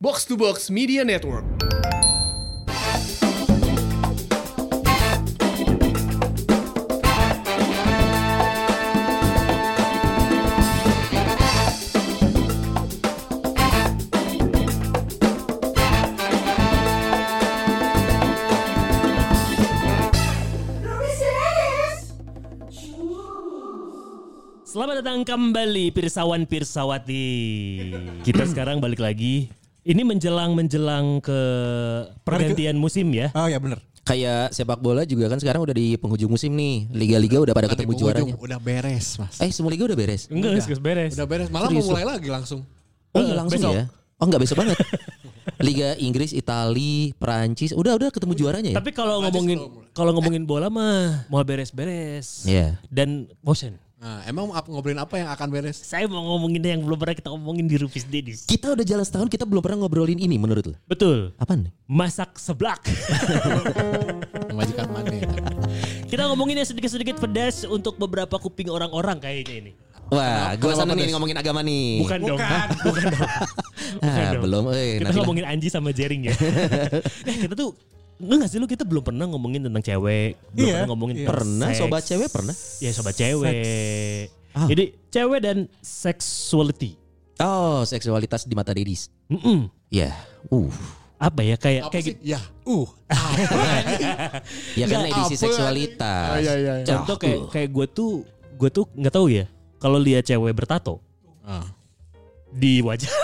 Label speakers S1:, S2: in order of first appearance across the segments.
S1: Box to Box Media Network.
S2: Selamat datang kembali pirsawan pirsawati. Kita sekarang balik lagi. Ini menjelang menjelang ke pergantian musim ya.
S3: Oh ya bener
S4: kayak sepak bola juga kan sekarang udah di penghujung musim nih liga-liga udah pada ketemu
S3: Nanti
S4: juaranya
S3: penghujung, Udah beres mas
S4: eh semua liga udah beres
S2: Enggak, guys, beres.
S3: Udah beres Malah mau
S4: Serius,
S3: mulai lagi langsung
S4: oh iya langsung
S2: besok.
S4: ya oh nggak besok banget liga Inggris Itali Perancis udah udah ketemu juaranya ya
S2: Tapi kalau ngomongin kalau ngomongin bola mah mau beres-beres.
S4: Iya.
S2: Dan bosen.
S3: Nah emang ap- ngobrolin apa yang akan beres
S2: Saya mau ngomongin yang belum pernah kita ngomongin di Rufis Dedis.
S4: kita udah jalan setahun kita belum pernah ngobrolin ini menurut lo
S2: Betul.
S4: apaan nih
S2: Masak seblak.
S3: Memajikan mana
S2: kita ngomongin yang sedikit-sedikit pedas untuk beberapa kuping orang-orang kayaknya ini.
S4: wah
S3: Kenapa?
S4: gua
S3: Kenapa
S4: sana nih
S3: des?
S4: ngomongin agama nih
S2: Bukan, dong. Bukan dong. Bukan
S4: ah,
S2: dong.
S4: belum eh
S2: kita
S4: Nabila.
S2: ngomongin Anji sama Jering ya. nah, kita tuh Enggak nggak sih lu kita belum pernah ngomongin tentang cewek, belum
S3: Iya,
S2: pernah ngomongin
S3: iya.
S2: tentang
S4: Pernah,
S2: seks.
S4: sobat cewek pernah? Ah.
S2: Ya sobat cewek. Jadi cewek dan sexuality.
S4: oh seksualitas di mata dedis
S2: Mm-mm.
S4: ya uh
S2: Apa ya kayak
S3: Apa
S2: kayak
S3: sih?
S2: gitu.
S3: Ya Uh
S4: ya kan
S3: Nggak,
S4: edisi
S3: apa
S4: seksualitas
S3: ini? Oh, iya, iya, iya.
S2: contoh
S4: Cakep.
S2: kayak kayak gue tuh gue tuh nggak tahu ya kalau lihat cewek bertato
S3: Ah.
S2: di wajah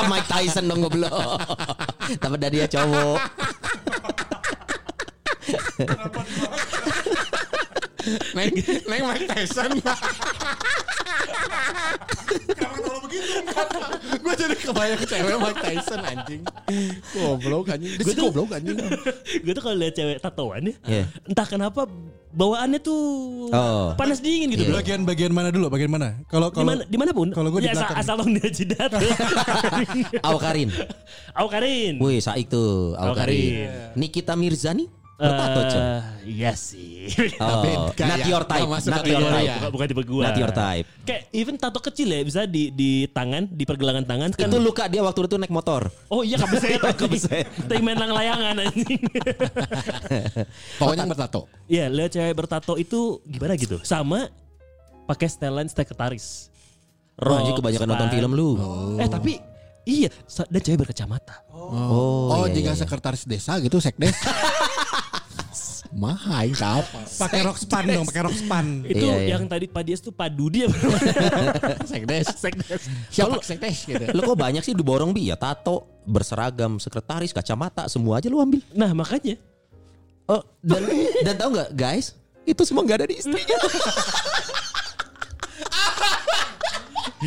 S4: Mike Tyson dong goblok. Tapi dari dia cowok.
S3: Neng, Neng Mike Tyson Kenapa kalau begitu Gue jadi kebayang cewek Mike Tyson anjing Goblok anjing Dia sih
S2: tuh-
S3: goblok anjing
S2: gue tuh kalau lihat cewek tatoan ya
S4: Iya.
S2: entah kenapa bawaannya tuh
S4: Oh.
S2: panas dingin gitu
S4: Iya.
S2: bro.
S5: Bagian bagian mana dulu? Bagian mana? Kalau kalau
S2: Dimana, dimanapun
S5: kalau gua di
S2: ya, asal,
S5: belakang.
S2: asal lo nggak jidat
S4: Aw Karin.
S2: Aku Karin
S4: Wih, saik tuh Aw
S2: Aw Karin.
S4: Karin.
S3: Iya.
S4: Nikita Mirzani bertato, Cok.
S2: Eh, Iya sih
S4: Oh,
S3: beda
S4: not
S3: ya.
S4: your type,
S3: Nggak masuk
S4: not
S3: kategori
S2: Iya,
S4: your type.
S3: ya.
S2: bukan, bukan tipe gue
S4: Not your type.
S2: Kayak even tato kecil ya Bisa di, di tangan Di pergelangan tangan kan
S4: Itu ya. luka dia waktu itu naik motor.
S2: Oh iya kebeset
S4: Kebeset.
S2: Tapi main lang layangan anjing
S3: Pokoknya bertato
S2: Iya, lihat cewek bertato itu gimana gitu? Sama pakai setelan sekretaris.
S4: Wah, anjing kebanyakan nonton film lu.
S2: Eh tapi iya, sa- dan cewek berkacamata.
S4: Oh,
S3: Oh,
S4: iya,
S3: jika
S4: iya.
S3: sekretaris desa gitu sekdes Mahai apa
S5: pakai rok span dong, pakai rok span.
S2: Itu
S4: Iya, iya.
S2: yang tadi Pak Dias tuh padu dia.
S3: Sekdes
S2: Sekdes.
S3: Siapa sekdes gitu
S4: Lu kok banyak sih diborong bi ya tato, berseragam, sekretaris, kacamata, semua aja lu ambil.
S2: nah makanya
S4: Oh, dan dan tahu nggak guys? Itu semua nggak ada di istrinya.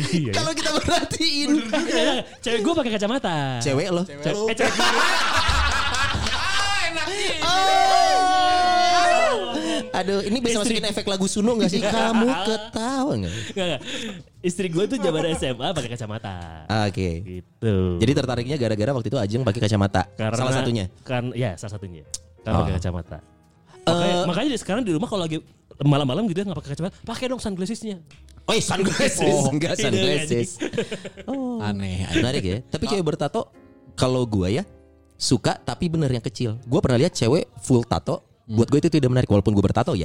S2: iya.
S4: Kalau kita perhatiin
S2: cewek gue pakai kacamata.
S4: cewek loh.
S2: Cewek- eh, cewek gua.
S4: Aduh, ini bisa masukin efek lagu Suno gak sih? Kamu ketawa gak?
S2: Nggak, nggak. Istri gue tuh zaman SMA pakai kacamata.
S4: Oke.
S2: Gitu.
S4: Ah. Jadi tertariknya gara-gara waktu itu Ajeng pakai kacamata.
S2: Karena-
S4: salah satunya.
S2: Kan ya salah satunya. Karena
S4: Oh. Eh.
S2: pakai kacamata. Makanya, makanya dia sekarang di rumah kalau lagi malam-malam gitu ya nggak pakai kacamata, pakai dong sunglassesnya.
S4: Oh, sunglasses. Oh, enggak
S2: Iya,
S4: sunglasses.
S3: Oh. Aneh
S4: Menarik ya. Tapi cewek bertato kalau gua ya suka tapi bener yang kecil. Gua pernah lihat cewek full tato.
S2: Hmm.
S4: Buat gue itu tidak menarik walaupun gue bertato ya.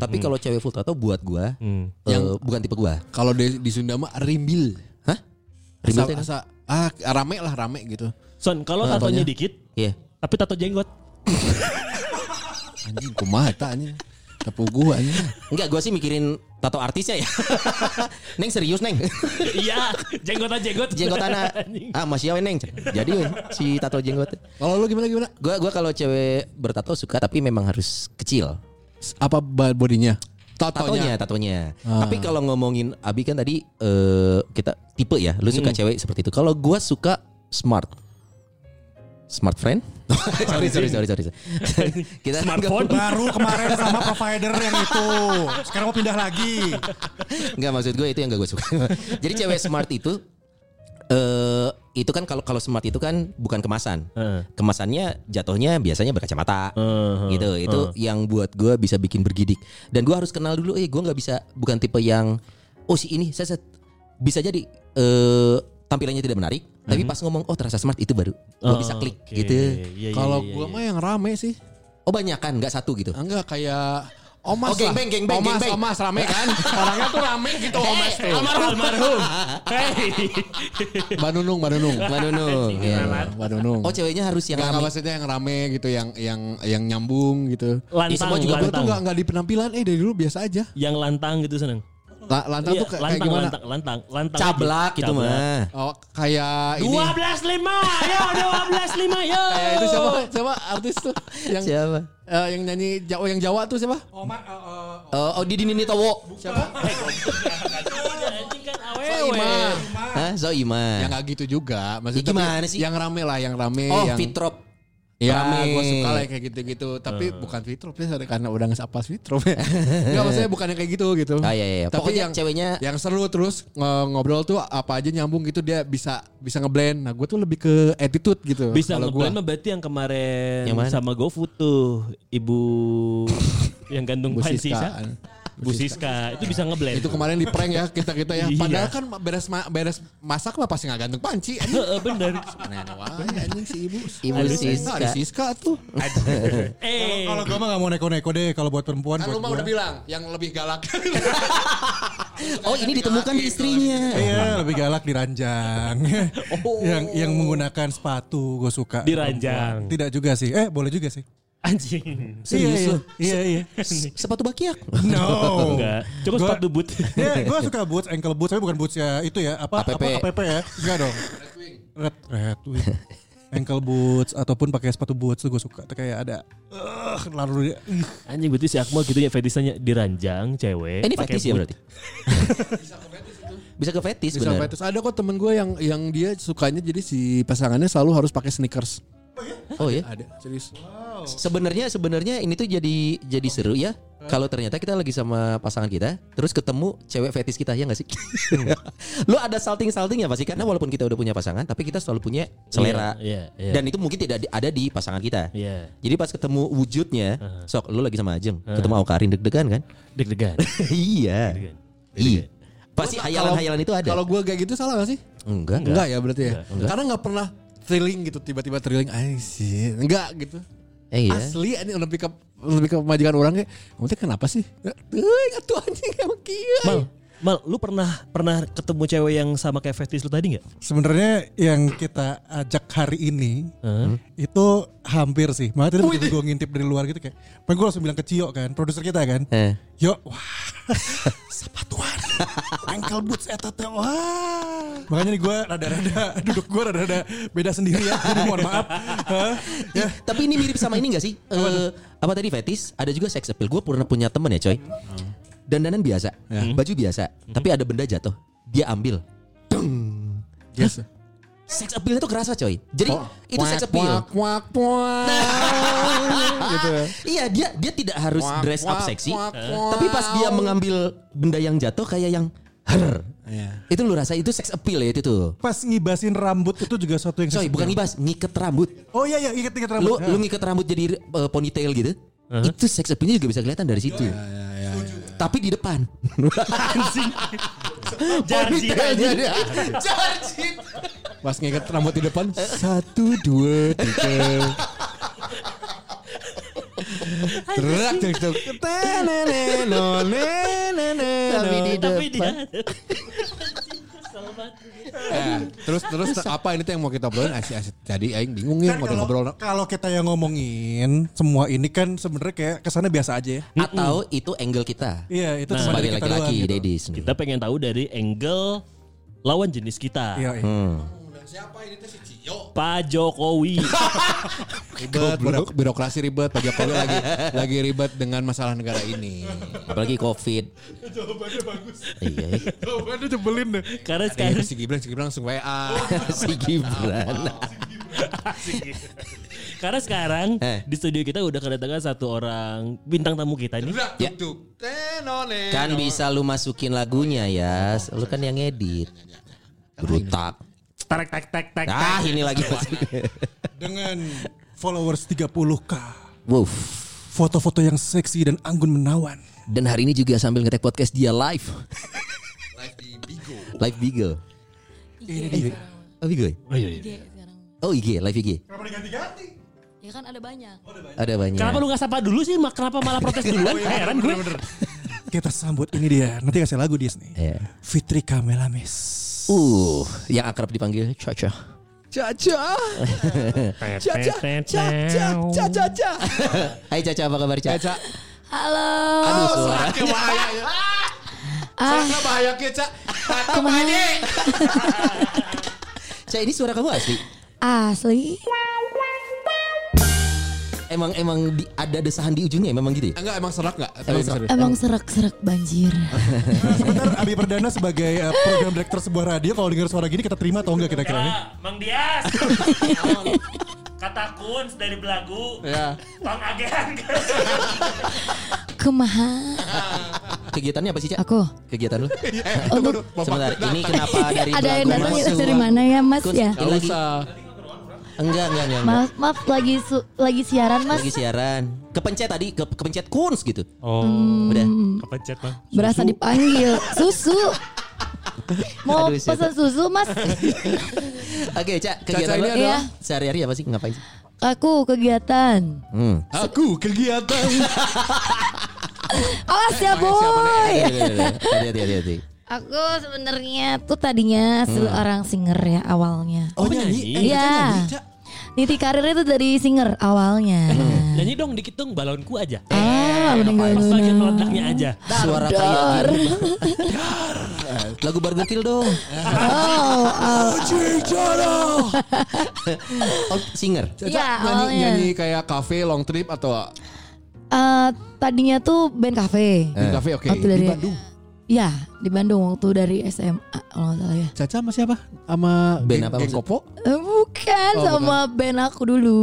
S4: Tapi kalau cewek full tato buat gua
S2: Hmm.
S4: eh, bukan tipe gua.
S3: Kalau di, di Sunda mah rimbil.
S4: Hah? Ribet
S3: Asa- asa-
S4: ya?
S3: ah rame lah rame gitu.
S2: Son, kalau
S4: Nah,
S2: tatonya
S4: apanya?
S2: dikit,
S4: Iya.
S2: tapi tato jenggot.
S3: Anjing kumaha eta anjing. Tepu gua anjing.
S4: Enggak, gua sih mikirin tato artisnya ya. neng serius, Neng.
S2: Iya, jenggotan jenggot.
S4: jenggot anak
S2: Anjing.
S4: ah masih awe neng jadi weh, si tato jenggot
S3: Kalau lu gimana gimana?
S4: gua gua kalau cewek bertato suka tapi memang harus kecil
S3: S- Apa ba- bodinya?
S4: tatonya
S3: Tatonya.
S4: Iya, tatonya
S5: Ah.
S4: tapi kalau ngomongin abi kan tadi eh, kita tipe ya lu
S5: Hmm.
S4: suka cewek seperti itu kalau gua suka smart smart friend sorry sorry sorry sorry kita
S2: Smartphone.
S5: Baru kemarin sama provider yang itu. Sekarang mau pindah lagi.
S4: Enggak maksud gue itu yang gak gue suka. Jadi cewek smart itu eh itu kan kalau kalau smart itu kan bukan kemasan.
S5: Eh.
S2: Heeh.
S4: Kemasannya jatuhnya biasanya berkacamata.
S2: Heeh,
S4: gitu. Itu yang buat gue bisa bikin bergidik. Dan gue harus kenal dulu eh gue nggak bisa bukan tipe yang oh si ini saya bisa jadi eh tampilannya tidak menarik, tapi pas ngomong oh terasa smart itu baru gua bisa klik
S2: Oh, Oke.
S4: gitu.
S2: Iya, iya,
S3: Kalau
S2: iya,
S3: gua
S2: iya.
S3: mah yang rame sih.
S4: Oh banyak kan, nggak satu gitu.
S3: Enggak kayak Omas
S4: Oh, gengbang,
S3: lah.
S4: gengbang,
S3: Omas,
S4: gengbang.
S3: Omas rame kan? Orangnya tuh rame gitu Omas tuh.
S2: Almarhum, almarhum. Hey.
S3: Mbak Nunung, Mbak Nunung.
S4: Mbak Nunung. ya.
S3: Mbak Nunung.
S4: Oh ceweknya harus yang
S3: Enggak, enggak
S4: rame.
S3: maksudnya yang rame gitu, yang yang yang nyambung gitu.
S2: Lantang,
S4: Ih, semua juga
S3: Gue tuh
S2: lantang.
S3: enggak enggak di penampilan, eh dari dulu biasa aja.
S2: Yang lantang gitu seneng.
S3: La- Lantang
S2: Iya,
S3: tuh kayak, kayak
S2: lantang,
S3: gimana?
S2: lantang, lantang, lantang.
S4: Cablak gitu mah.
S3: Oh, kayak ini.
S2: Dua belas lima, yo dua belas lima, yo.
S3: Eh, itu siapa? Siapa artis tuh? Yang
S4: Siapa?
S3: eh, yang nyanyi Jawa yang Jawa tuh siapa?
S2: Oh,
S5: Oma, eh, eh,
S4: Eh, oh Didi Nini Towo.
S2: Anjing kan awewe.
S3: Soimah.
S4: Hah,
S3: Yang
S4: Soima.
S3: nggak gitu juga, maksudnya
S4: Ya, gimana
S3: tapi
S4: sih?
S3: Yang rame lah, yang rame.
S4: Oh
S3: yang,
S4: Fitrop.
S3: Ya,
S4: Rame.
S3: gue suka lah yang kayak gitu-gitu. Tapi
S2: Hmm.
S3: bukan Fitrop ya, sorry, karena udah ngesapa Fitrop ya. Enggak, maksudnya bukan yang kayak gitu gitu.
S4: Ah, iya, iya, iya.
S3: Tapi
S4: Pokoknya
S3: yang
S2: Eh.
S4: ceweknya-
S3: yang seru terus nge- ngobrol tuh apa aja nyambung gitu dia bisa bisa ngeblend. Nah, gue tuh lebih ke attitude gitu.
S2: Bisa
S3: kalau
S2: ngeblend
S3: gue.
S2: mah berarti yang kemarin
S4: Yang mana?
S2: sama GoFood tuh ibu yang gantung
S3: Bu
S2: pan
S3: Siska.
S2: sisa. Bu Siska itu bisa ngeblend.
S3: Itu kemarin di prank ya kita kita ya.
S2: Iya.
S3: Padahal kan beres ma- beres masak mah pasti nggak gantung panci. Anjing.
S2: Heeh, bener.
S3: Nah, nah, wah, anjing si ibu.
S4: Ibu
S3: Aduh,
S4: Siska.
S3: Ada Siska tuh.
S2: Eh,
S5: Kalau gue mah gak mau neko-neko deh kalau buat perempuan.
S3: Kan
S5: buat
S3: lu mah
S5: gua.
S3: udah bilang yang lebih galak.
S4: Oh ini ditemukan di istrinya.
S5: Iya Oh. lebih galak diranjang. yang yang menggunakan sepatu gue suka.
S2: Diranjang.
S5: Tidak juga sih. Eh boleh juga sih.
S2: anjing.
S5: Serius Iya iya.
S4: Sepatu bakiak.
S5: No.
S2: Enggak. Coba
S5: Gua-
S2: sepatu boot.
S5: Iya, gue suka boots, ankle boots, tapi bukan boots ya itu ya apa
S4: APP.
S5: apa APP ya? Enggak dong. Red Red Wing. ankle boots ataupun pakai sepatu boots tuh gue suka. Tuh kayak ada eh lalu dia "Ugh."
S2: Anjing berarti si Akmal gitu ya fetishnya diranjang cewek.
S4: Eh, ini
S2: pakai
S4: fetis ya
S2: boot.
S4: berarti. Bisa ke fetis
S3: Bisa
S4: benar.
S3: sampai- terus ada kok temen gue yang yang dia sukanya jadi si pasangannya selalu harus pakai sneakers.
S4: Oh ya.
S3: Ada serius.
S2: Oh.
S4: Sebenarnya sebenarnya ini tuh jadi jadi seru ya. Kalau ternyata kita lagi sama pasangan kita, terus ketemu cewek fetis kita ya nggak sih? Lo ada salting-salting ya pasti karena walaupun kita udah punya pasangan, tapi kita selalu punya selera.
S2: Iya, iya, iya.
S4: Dan itu mungkin tidak di- ada di pasangan kita.
S2: Iya.
S4: Jadi pas ketemu wujudnya, sok lo lagi sama Ajeng, ketemu Aukarin deg-degan kan?
S2: Deg-degan.
S4: iya.
S2: Deg-degan.
S4: Iya. Pasti hayalan-hayalan itu ada.
S3: Kalau gue kayak gitu salah gak sih?
S4: enggak,
S3: Enggak, ya berarti ya. Karena nggak pernah thrilling gitu tiba-tiba thrilling ay sih enggak gitu
S4: Eh, iya.
S3: asli ini lebih ke lebih ke majikan orang kayak kamu teh kenapa sih eh atuh anjing emang
S2: Mal,
S3: kia
S2: Mal, lu pernah pernah ketemu cewek yang sama kayak fetis lu tadi nggak?
S5: Sebenarnya yang kita ajak hari ini itu hampir sih. Makanya tadi
S4: Oh,
S5: begitu gue ngintip dari luar gitu kayak, pengen gue langsung bilang ke Cio kan, produser kita kan.
S4: Eh.
S5: Yo, wah, sepatuan, ankle boots eta teh, wah. Makanya nih gue rada-rada, duduk gue rada-rada beda sendiri ya. Jadi mohon maaf. Hah? ya.
S4: Tapi ini mirip sama ini gak sih? Eh, apa tadi fetis? Ada juga sex appeal. Gue pernah punya temen ya coy. Dandanan biasa, baju biasa. Tapi ada benda jatuh. Dia ambil.
S3: yes
S4: Sex appealnya tuh kerasa coy. Jadi
S3: Oh,
S4: itu sex appeal.
S3: kuak kuak gitu
S4: Iya dia dia tidak harus
S3: Wak,
S4: dress up
S3: wak,
S4: seksi. Eh.
S3: wak, wak.
S4: Tapi pas dia mengambil benda yang jatuh kayak yang her.
S3: Iya.
S4: Itu lu rasa itu sex appeal ya itu tuh.
S5: Pas ngibasin rambut itu juga suatu yang...
S4: Coy bukan ngibas, ngiket rambut.
S5: Oh iya, iya, ikat-ikat
S4: Lu,
S5: rambut.
S4: lu ngiket rambut jadi eh, ponytail gitu. Itu sex appealnya juga bisa kelihatan dari situ. ya. Tapi di depan.
S2: Janji.
S3: pas ngikat rambut di depan satu dua tiga Terak tuk tuk. Tenene, none, nene,
S4: Tapi
S3: no.
S4: di
S2: Tapi dia
S3: Eh, terus terus apa ini tuh yang mau kita obrolin asih asih tadi aing bingung ya
S5: Kan
S3: mau
S5: kalau-
S3: ngobrol
S5: kalau kita yang ngomongin semua ini kan sebenarnya kayak kesannya biasa aja ya.
S4: Atau itu angle kita.
S5: Iya, itu cuma
S4: Sebagai
S5: dari kita
S4: laki-laki,
S5: doang gitu.
S4: ladies.
S2: Kita pengen tahu dari angle lawan jenis kita.
S5: Iya, iya.
S2: Pak Jokowi.
S3: ribet birok- birokrasi ribet Pak Jokowi lagi lagi ribet dengan masalah negara ini
S4: Apalagi COVID. Jawabannya bagus. Iya.
S5: Jawabannya jebelin deh.
S2: Karena
S3: Eh,
S2: sekarang
S3: si Gibran si Gibran langsung WA
S4: si Gibran.
S2: karena sekarang
S4: Eh.
S2: di studio kita udah kedatangan satu orang bintang tamu kita nih.
S3: Terak,
S4: Ya.
S3: tuk, tuk. Tenone,
S4: kan
S3: no.
S4: bisa lu masukin lagunya ya. Lu kan yang ngedit. Berutak.
S2: Tarik tek tek tek.
S4: Ah ini lagi masuknya.
S5: Dengan followers 30k.
S4: Wow.
S5: Foto-foto yang seksi dan anggun menawan.
S4: Dan hari ini juga sambil ngetek podcast dia live.
S3: live di Bigo
S4: Live Beagle.
S5: Ini
S4: Eh,
S5: dia.
S4: apa gue?
S2: Oh, iya, iya.
S6: IG sekarang.
S4: Oh IG, live IG.
S5: Kenapa diganti-ganti?
S6: Ya kan ada banyak.
S4: Ada banyak.
S2: Kenapa lu gak sapa dulu sih? Ma- Kenapa malah protes duluan? Heran gue.
S5: Kita sambut ini dia. Nanti kasih lagu dia nih.
S4: Iya.
S5: Fitri Kamelamis.
S4: Uh, yang akrab dipanggil Caca. Caca. Caca. Caca. Caca. Caca. Hai Caca, apa kabar Caca? Caca.
S6: Halo.
S4: Aduh,
S3: Oh,
S4: suara.
S3: bahaya ya.
S6: Ah,
S3: Saka bahaya ke Cak.
S6: kemana?
S4: Caca, ini suara kamu asli.
S6: Asli.
S4: Emang emang di- ada desahan di ujungnya memang gitu ya?
S3: Enggak Ah, emang serak enggak?
S4: Emang serak.
S6: Emang serak-serak banjir.
S5: Nah, sebentar Abi Perdana sebagai eh, program direktur sebuah radio kalau dengar suara gini kita terima atau enggak kira-kira nih?
S2: Mang Dias. Kata Kuns dari Belagu.
S3: Ya.
S2: Bang Agehan.
S6: Kemaha.
S4: Kegiatannya apa sih Caca?
S6: Aku.
S4: Kegiatan lu? Eh,
S6: Untuk
S4: Sebentar, ini kenapa dari
S6: ada yang
S4: Belagu
S6: datang ya,
S4: masuk?
S6: dari mana ya Mas
S4: Kus-
S6: ya?
S4: Ini lagi- Enggak, enggak, enggak. enggak.
S6: Maaf, maaf lagi su- lagi siaran Mas.
S4: Lagi siaran. Kepencet tadi, ke, kepencet kuns gitu.
S2: Oh,
S6: Hmm.
S4: Udah.
S2: kepencet Bang.
S6: Berasa dipanggil susu. Mau
S4: Aduh,
S6: pesan susu Mas?
S4: Oke, Cak, kegiatan
S3: ini
S4: lu
S6: adalah-
S4: sehari-hari apa sih ngapain sih?
S6: Aku kegiatan.
S4: Hmm.
S3: Aku kegiatan.
S6: Awas ya boy.
S4: Hati-hati, hati-hati.
S6: Aku sebenarnya tuh tadinya seorang singer ya awalnya.
S4: Oh,
S2: nyanyi.
S5: Eh,
S6: Iya. Niti karirnya tuh dari singer awalnya.
S2: Nyanyi dong dikit dong balonku aja.
S6: ah,
S2: Pas
S6: meninggal
S2: bagian
S6: dunia.
S2: meledaknya aja.
S4: Suara kayak gini. Lagu Burger Kill dong.
S6: Oh, oh.
S4: Oh, singer.
S6: Iya,
S3: nyanyi,
S6: awalnya.
S3: nyanyi kayak cafe long trip atau
S6: Eh, tadinya tuh band cafe.
S3: di cafe oke
S6: Waktu dari
S3: di Bandung.
S6: Iya, di Bandung waktu dari SMA kalau nggak salah ya.
S3: Caca sama siapa? Sama
S4: Band
S3: geng-
S4: apa
S3: geng
S4: maksud?
S3: Kopo?
S6: Eh, bukan
S3: Oh,
S6: sama band aku dulu.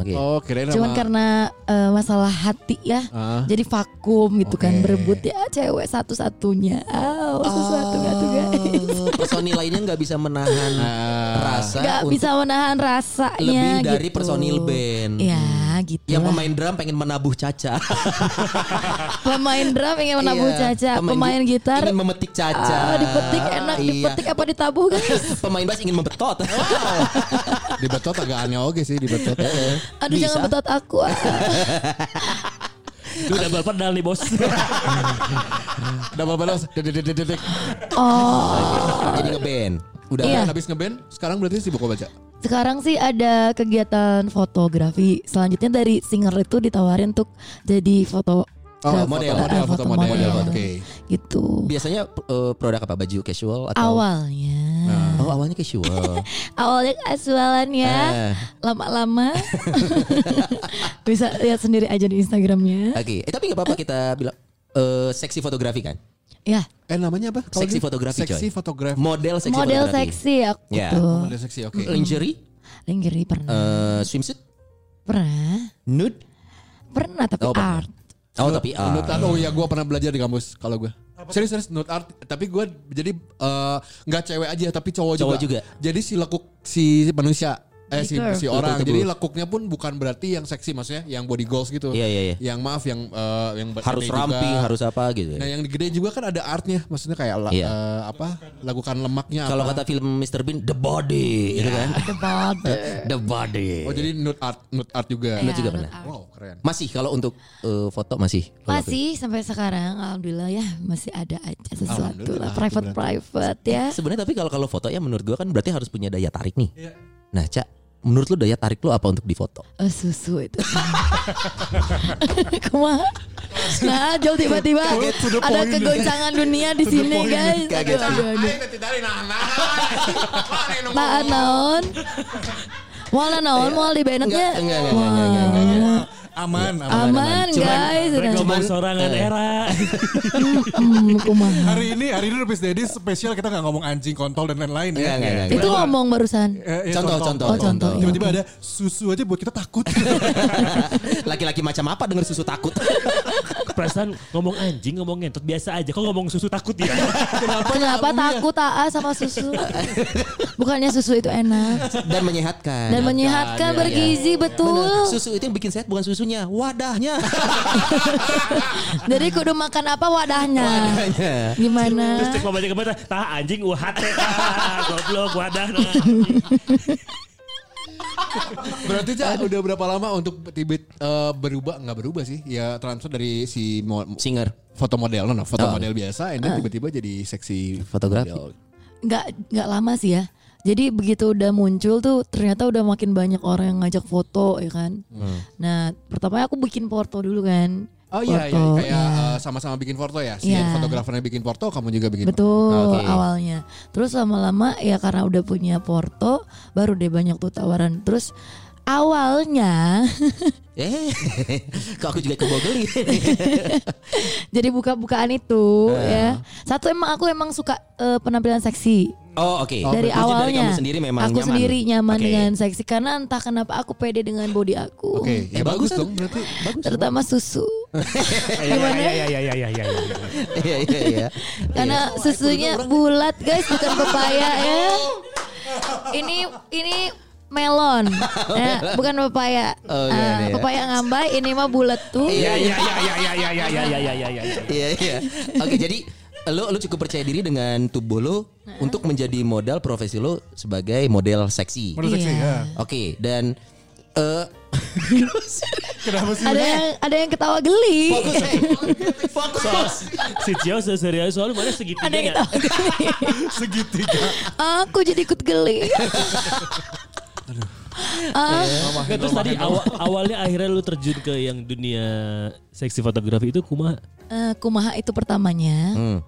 S4: Oke.
S3: Oh, kirain
S6: Cuman
S3: sama-
S6: karena eh, masalah hati ya.
S3: Ah.
S6: Jadi vakum gitu kan
S3: Oke.
S6: berebut ya cewek satu-satunya. Oh, sesuatu nggak tuh guys.
S4: Oh, Personil lainnya nggak bisa menahan rasa
S6: Gak
S4: untuk
S6: bisa menahan rasanya
S4: lebih dari
S6: gitu.
S4: personil band.
S6: Ya gitu
S4: Yang
S6: lah.
S4: pemain drum pengen menabuh Caca.
S6: Pemain drum ingin menabuh
S4: Iya.
S6: caca Pemain,
S4: gi-
S6: gitar
S4: ingin memetik Caca.
S6: ah, Dipetik enak
S4: Iya.
S6: Dipetik apa ditabuh guys
S4: Pemain bass ingin membetot.
S3: di betot agak aneh oke sih di betot.
S6: Aduh
S4: Bisa.
S6: jangan betot aku ah.
S2: Lu udah berpedal nih bos.
S3: Double balas. Dedek
S6: Oh
S4: Jadi ngeband.
S3: Udah
S6: Iya.
S3: Kan habis ngeband, sekarang berarti sibuk apa, Cak?
S6: Sekarang sih ada kegiatan fotografi Selanjutnya dari singer itu ditawarin untuk Jadi foto
S3: Oh,
S6: eh,
S3: model,
S6: foto-
S3: model,
S6: eh,
S3: foto model. Oke.
S6: Gitu
S4: Biasanya eh, produk apa? Baju casual atau
S6: Awalnya
S4: Oh, awalnya casual.
S6: Awalnya kasualan ya
S4: Eh.
S6: Lama-lama Bisa lihat sendiri aja di Instagramnya
S4: Oke, eh, tapi nggak apa-apa kita bilang eh, seksi fotografi kan?
S6: Ya
S3: Eh namanya apa? Kalau
S4: Seksi
S3: gitu?
S4: fotografi,
S3: Seksi
S4: coy.
S3: fotografi.
S4: Model seksi
S6: model
S4: fotografi.
S6: seksi aku
S4: Ya.
S6: tuh.
S3: Model Hmm. seksi, oke.
S4: Lingerie,
S6: Lingerie pernah.
S4: eh, swimsuit,
S6: pernah.
S4: nude.
S6: Pernah tapi
S4: Oh, pernah.
S6: art.
S4: Oh, tapi ah.
S3: Nude art, oh iya gue pernah belajar di kampus kalau gue. Serius serius nude art, tapi gue jadi eh, nggak cewek aja tapi cowok,
S4: Cowok
S3: juga.
S4: juga.
S3: Jadi si lekuk si manusia eh si, si
S6: Gitu.
S3: orang.
S4: Betul, betul.
S3: Jadi lekuknya pun bukan berarti yang seksi maksudnya, yang body goals gitu.
S4: Iya, iya, iya.
S3: Yang maaf yang eh, yang ber-
S4: harus
S3: gede
S4: ramping,
S3: juga.
S4: harus apa gitu.
S3: Nah, yang gede juga kan ada artnya, maksudnya kayak la-
S4: Iya.
S3: eh, apa? Lakukan lemaknya
S4: Kalau
S3: apa.
S4: kata film Mr Bean, the body, gitu kan?
S6: Iya, The body.
S4: The body.
S3: Oh, jadi nude art, nude art juga.
S4: juga
S6: Ya, not
S4: pernah.
S6: art.
S3: Wow, keren.
S4: Masih kalau untuk eh, foto masih.
S6: Masih sampai sekarang alhamdulillah ya masih ada aja sesuatu
S3: Alhamdulillah,
S6: lah private private ya.
S4: Sebenarnya tapi kalau kalau foto ya menurut gua kan berarti harus punya daya tarik nih.
S3: Iya.
S4: Nah, Cak, menurut lu daya tarik lu apa untuk difoto?
S6: Eh, susu itu. Kumaha? Nah, jauh tiba-tiba ada kegoncangan dunia di sini guys. Aduh, aduh, aduh. Tahan naon? Moal naon? Moal di
S4: Enggak,
S6: benetnya?
S4: enggak, enggak, enggak, enggak, enggak, enggak, enggak.
S5: Aman, aman.
S6: Aman guys.
S2: Mereka
S6: Udah.
S2: ngomong sorangan era.
S6: Hmm, kumaha.
S5: Hari ini hari ini Rupis Dedi spesial kita nggak ngomong anjing kontol dan lain-lain
S4: Enggak,
S5: ya.
S4: enggak, enggak,
S6: Itu
S4: enggak.
S6: ngomong barusan.
S5: Eh, eh,
S4: Contoh, contoh,
S6: Oh, contoh, iya.
S5: Tiba-tiba ada susu aja buat kita takut.
S4: Laki-laki macam apa denger susu takut?
S2: Perasaan ngomong anjing ngomong ngentot biasa aja. Kok ngomong susu takut ya?
S6: Kenapa takut aa sama susu? Bukannya susu itu enak
S4: dan menyehatkan.
S6: dan menyehatkan,
S3: iya,
S6: bergizi betul.
S4: Bener. Susu itu yang bikin sehat bukan susunya, wadahnya.
S6: Jadi kudu makan apa wadahnya? Gimana?
S2: Terus cek pembaca kemana? Tah anjing wah hate tah goblok wadah. nah.
S3: Berarti Ca, udah berapa lama untuk Tibet eh, berubah nggak berubah sih? Ya transfer dari si mo-
S4: Singer.
S3: foto model no, no, foto
S6: Ah.
S3: model biasa and then tiba-tiba jadi seksi
S4: Fotografi.
S3: model.
S6: nggak nggak lama sih ya. Jadi begitu udah muncul tuh ternyata udah makin banyak orang yang ngajak foto ya kan. Nah pertama aku bikin porto dulu kan.
S3: Hmm. Oh iya, iya,
S6: Foto,
S3: kayak
S6: iya.
S3: eh, gitu. sama-sama bikin foto ya. Si
S6: Iya.
S3: fotografernya bikin foto, kamu juga bikin foto. Ah,
S6: Betul
S4: Oke.
S6: awalnya. Terus lama-lama ya karena udah punya porto baru deh banyak tuh tawaran. Terus awalnya
S4: Eh, kok aku juga kebogeli.
S6: jadi buka-bukaan
S3: Nah.
S6: itu ya. Satu emang aku emang suka eh, penampilan seksi.
S4: oh, oke.
S6: dari
S4: Maksud
S6: awalnya
S4: kamu sendiri memang
S6: aku
S4: nyaman.
S6: sendiri nyaman
S4: Oke.
S6: dengan seksi karena entah kenapa aku pede dengan body aku
S3: Oke, ya
S4: Eh,
S3: bagus,
S4: bagus
S3: dong berarti.
S6: terutama susu
S2: Iya iya iya iya iya iya. iya.
S4: Iya, iya, iya.
S6: karena susunya bulat guys bukan pepaya ya ini ini melon ya, bukan pepaya
S4: Oh, iya,
S6: Ah,
S4: iya, iya.
S6: pepaya ngambai ini mah bulat tuh
S2: Iya iya iya iya iya iya iya iya iya iya. iya.
S4: Iya, iya. Oke, jadi lo lo cukup percaya diri dengan tubuh lo untuk menjadi modal profesi lo sebagai model seksi.
S5: Model seksi
S6: Iya.
S5: ya.
S4: Oke, dan eh
S5: Kenapa sih?
S6: ada yang ada yang ketawa geli
S2: Si Cio serius soalnya mana
S6: ada yang
S4: ya.
S2: segitunya
S6: ketawa geli
S5: Segitiga.
S6: aku jadi ikut geli Ah,
S2: Nggak, terus tadi awal, awalnya akhirnya lu terjun ke yang dunia seksi fotografi itu kumaha?
S6: eh, kumaha itu pertamanya
S4: Hmm.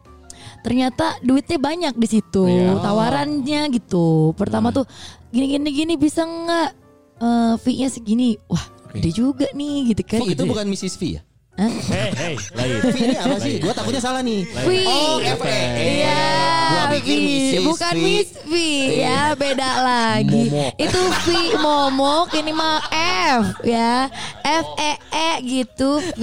S6: ternyata duitnya banyak di situ
S4: Iya. Oh.
S6: tawarannya gitu pertama
S4: Hmm.
S6: tuh gini gini gini bisa nggak Eh, fee-nya segini wah gede juga nih gitu
S4: Fok
S6: kan
S4: itu
S6: gitu ya.
S4: bukan Mrs. V ya?
S2: Hei hei, lain.
S4: V ini apa sih? Gua takutnya salah nih.
S6: Fee.
S4: Oh, FE.
S6: Iya,
S4: Gua pikir
S6: fee.
S4: Mrs.
S6: bukan
S4: V.
S6: Miss V
S4: Iya.
S6: ya, beda lagi.
S4: Momok.
S6: Itu V momok, ini mah F ya, F E E gitu, V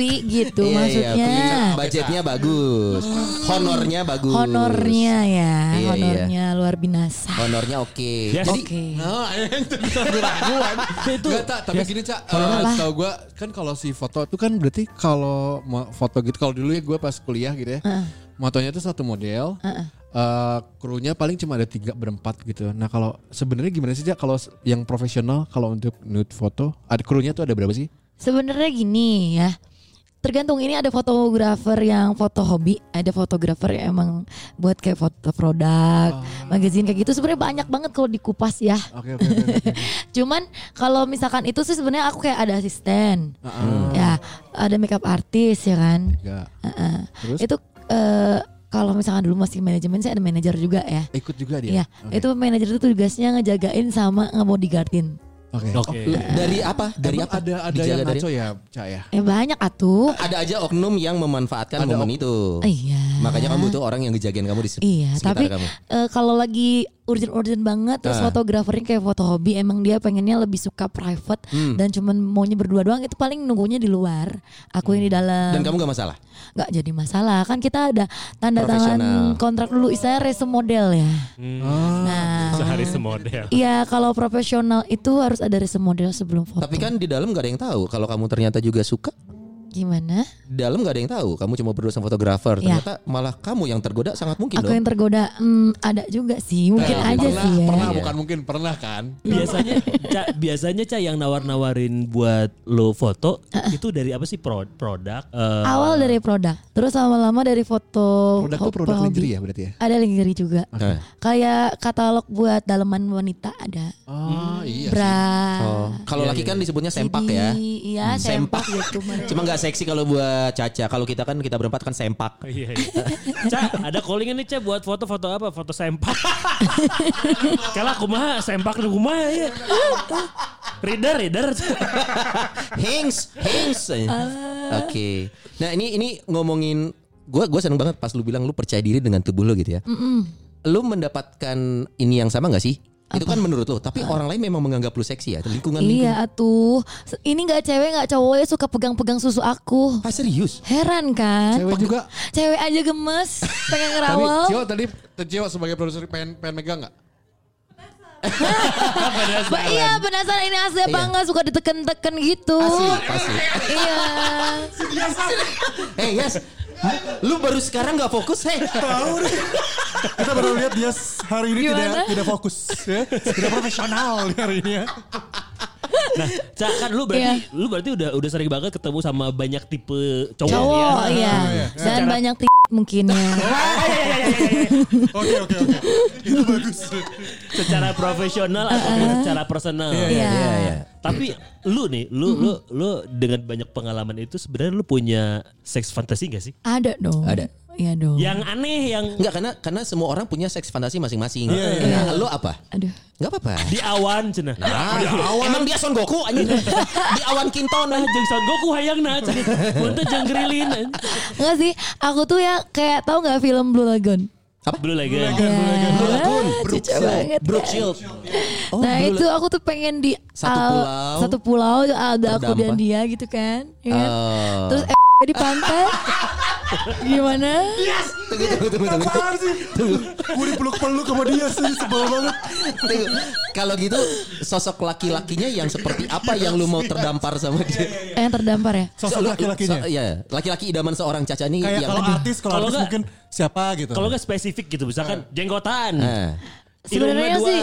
S4: Iya,
S6: gitu
S4: iya,
S6: maksudnya. Oh.
S4: punya- budgetnya bagus. Honornya bagus.
S6: Honornya ya,
S4: Iya, iya.
S6: honornya luar binasa.
S4: Honornya oke.
S2: Yes.
S4: Jadi iya.
S6: Oke.
S3: Nah, itu bisa keraguan.
S2: Itu-
S3: Nggak, Cak, tapi gini Cak, eh,
S6: Apa?
S3: setahu gue kan kalau si foto itu kan berarti kalau mau foto gitu, kalau dulu ya gue pas kuliah gitu ya, motonya itu satu model, eh, krunya paling cuma ada tiga berempat gitu. Nah kalau sebenarnya gimana sih Cak, kalau s- yang profesional kalau untuk nude foto, ada krunya tuh ada berapa sih?
S6: Sebenarnya gini ya. Tergantung ini ada fotografer yang foto hobi, ada fotografer yang emang buat kayak foto produk, magazine kayak gitu. Sebenarnya banyak banget kalau dikupas ya.
S3: Oke oke. oke, oke.
S6: Cuman kalau misalkan itu sih sebenarnya aku kayak ada asisten. Ya, ada makeup artis ya kan.
S3: Nggak.
S6: Heeh.
S3: Terus?
S6: Itu eh, kalau misalkan dulu masih manajemen saya ada manajer juga ya.
S3: Ikut juga dia.
S6: Iya, itu manajer itu tugasnya ngejagain sama ngebodyguardin.
S3: Oke.
S2: Oke.
S3: Oh,
S4: dari apa? Dari
S3: Emang
S4: apa?
S3: Ada ada
S4: Dijaga
S3: yang
S4: dari
S3: ngaco ya, Cak ya.
S6: Eh banyak atuh.
S4: ada aja oknum yang
S3: Ada
S4: memanfaatkan momen itu.
S6: Iya.
S4: Makanya kamu butuh orang yang ngejagain kamu di se-
S6: Iya,
S4: Gitu. sekitar
S6: tapi
S4: kamu. Ah.
S6: eh, kalau lagi urgent-urgent banget terus fotografernya kayak foto hobi emang dia pengennya lebih suka private
S4: Hmm.
S6: dan cuman maunya berdua doang itu paling nunggunya di luar, aku yang di dalam.
S4: Hmm. Dan kamu gak masalah.
S6: nggak jadi masalah kan kita ada tanda tangan
S4: Profesional. Hmm.
S6: kontrak dulu istilahnya resume model ya nah
S2: Sehari semodel.
S6: Iya kalau profesional itu harus ada resume model sebelum foto
S4: Tapi kan di dalam gak ada yang tahu kalau kamu ternyata juga suka.
S6: Gimana?
S4: Di dalam gak ada yang tahu. Kamu cuma berdua sama fotografer.
S6: Iya.
S4: Ternyata malah kamu yang tergoda sangat mungkin
S6: Aku
S4: dong.
S6: yang tergoda Hmm, Ada juga sih Mungkin aja
S3: pernah,
S6: sih ya
S3: Pernah
S4: Iya.
S3: bukan mungkin pernah kan?
S2: Iya, Biasanya Ca, biasanya Ca yang nawar-nawarin buat lo foto itu dari apa sih Pro- produk eh,
S6: Awal dari produk Terus lama-lama dari foto
S3: Produk tuh
S6: ho-
S3: produk
S6: hobi.
S3: lingerie ya berarti ya.
S6: Ada lingerie juga
S4: Oke.
S6: Kayak katalog buat daleman wanita ada
S3: Oh iya. sih.
S6: Bra
S4: Oh. Kalau
S3: Iya,
S4: laki kan disebutnya sempak
S6: CD,
S4: ya.
S6: Iya
S4: Sempak.
S6: sempak, gitu
S4: Cuma nggak seksi kalau buat Caca. Kalau kita kan kita berempat kan sempak.
S2: Iya, iya. Ca, ada calling nih Ca buat foto-foto apa? Foto sempak. Kalau aku mah sempak aku mah ya. Reader, reader.
S4: Hings, hings. Oke.
S6: Ah.
S4: Nah ini ini ngomongin gue gue seneng banget pas lu bilang lu percaya diri dengan tubuh lu gitu ya.
S6: Mm.
S4: Lu mendapatkan ini yang sama nggak sih? Itu kan menurut lu. Tapi orang lain memang menganggap lu seksi ya. Lingkungan lingkungan.
S6: Ah. Iya atuh Se- Ini gak cewek gak cowok ya suka pegang-pegang susu aku
S4: Ah serius?
S6: Heran kan
S3: Cewek ya, juga.
S6: Cewek aja gemes Pengen
S3: Tadi
S6: ngerawal
S3: Cio tadi Cio sebagai produser pengen pengen megang nggak?
S6: Ba- iya penasaran ini asli apa
S4: Iya.
S6: enggak suka diteken-teken gitu.
S4: Asli, pasti.
S6: Iya.
S4: Eh yes, lu baru sekarang nggak fokus, heh.
S5: Tahu deh. Kita baru lihat dia hari ini
S6: Gimana?
S5: tidak tidak fokus, ya. tidak profesional dia hari ini ya.
S2: Cak kan lu berarti
S6: Iya.
S2: lu berarti udah udah sering banget ketemu sama banyak tipe cowok,
S6: Cowok
S2: ya.
S6: iya. Dan
S2: Secara-
S6: banyak t mungkin ya.
S2: Ah, iya,
S5: Oke oke oke. Itu bagus.
S3: Iya.
S2: Secara profesional ataupun secara personal.
S6: Iya. Gitu.
S2: Tapi lu nih, lu lu lu dengan banyak pengalaman itu sebenarnya lu punya seks fantasi gak sih?
S6: Ada dong.
S4: Ada.
S6: Iya dong.
S2: Yang aneh yang
S4: Enggak karena karena semua orang punya seks fantasi masing-masing.
S5: Iya, iya,
S4: Nah, lu apa?
S6: Aduh.
S4: Enggak apa-apa.
S2: di awan cenah.
S4: Ah, emang dia Son Goku anjing.
S5: Iya.
S4: di awan Kinton
S2: Nah,
S4: aja.
S2: jeung Son Goku hayangna cenah. Muntah jeung grilin.
S6: Enggak sih, aku tuh ya kayak tahu nggak film Blue Lagoon?
S2: Blue lagi.
S6: Lagoon, cucu banget.
S4: Brook Shield. Oh,
S6: nah
S4: Blue
S6: itu aku tuh pengen di
S4: Satu
S6: al-
S4: pulau.
S6: satu pulau ada aku
S4: Terdampak.
S6: dan dia gitu kan, ya kan?
S4: Oh.
S6: terus eh, di pantai gimana
S4: Tunggu, tunggu, tunggu, tunggu.
S5: Apaan sih? Gue dipeluk-peluk sama dia sih, sebel banget.
S4: Tunggu. Kalau gitu sosok laki-lakinya yang seperti apa yang lu mau terdampar sama
S3: Iya,
S4: dia?
S6: Eh, yang terdampar ya
S5: Sosok
S4: Lu-
S5: laki-lakinya.
S4: so- Iya, laki-laki idaman seorang Caca nih
S5: Kayak
S4: yang
S5: kalau artis, kalau
S2: Kalau
S5: artis
S2: nggak-
S5: mungkin siapa gitu.
S2: Kalau nggak spesifik gitu, misalkan jenggotan.
S4: Eh.
S6: sebenarnya
S2: Hidungnya dua.
S6: sih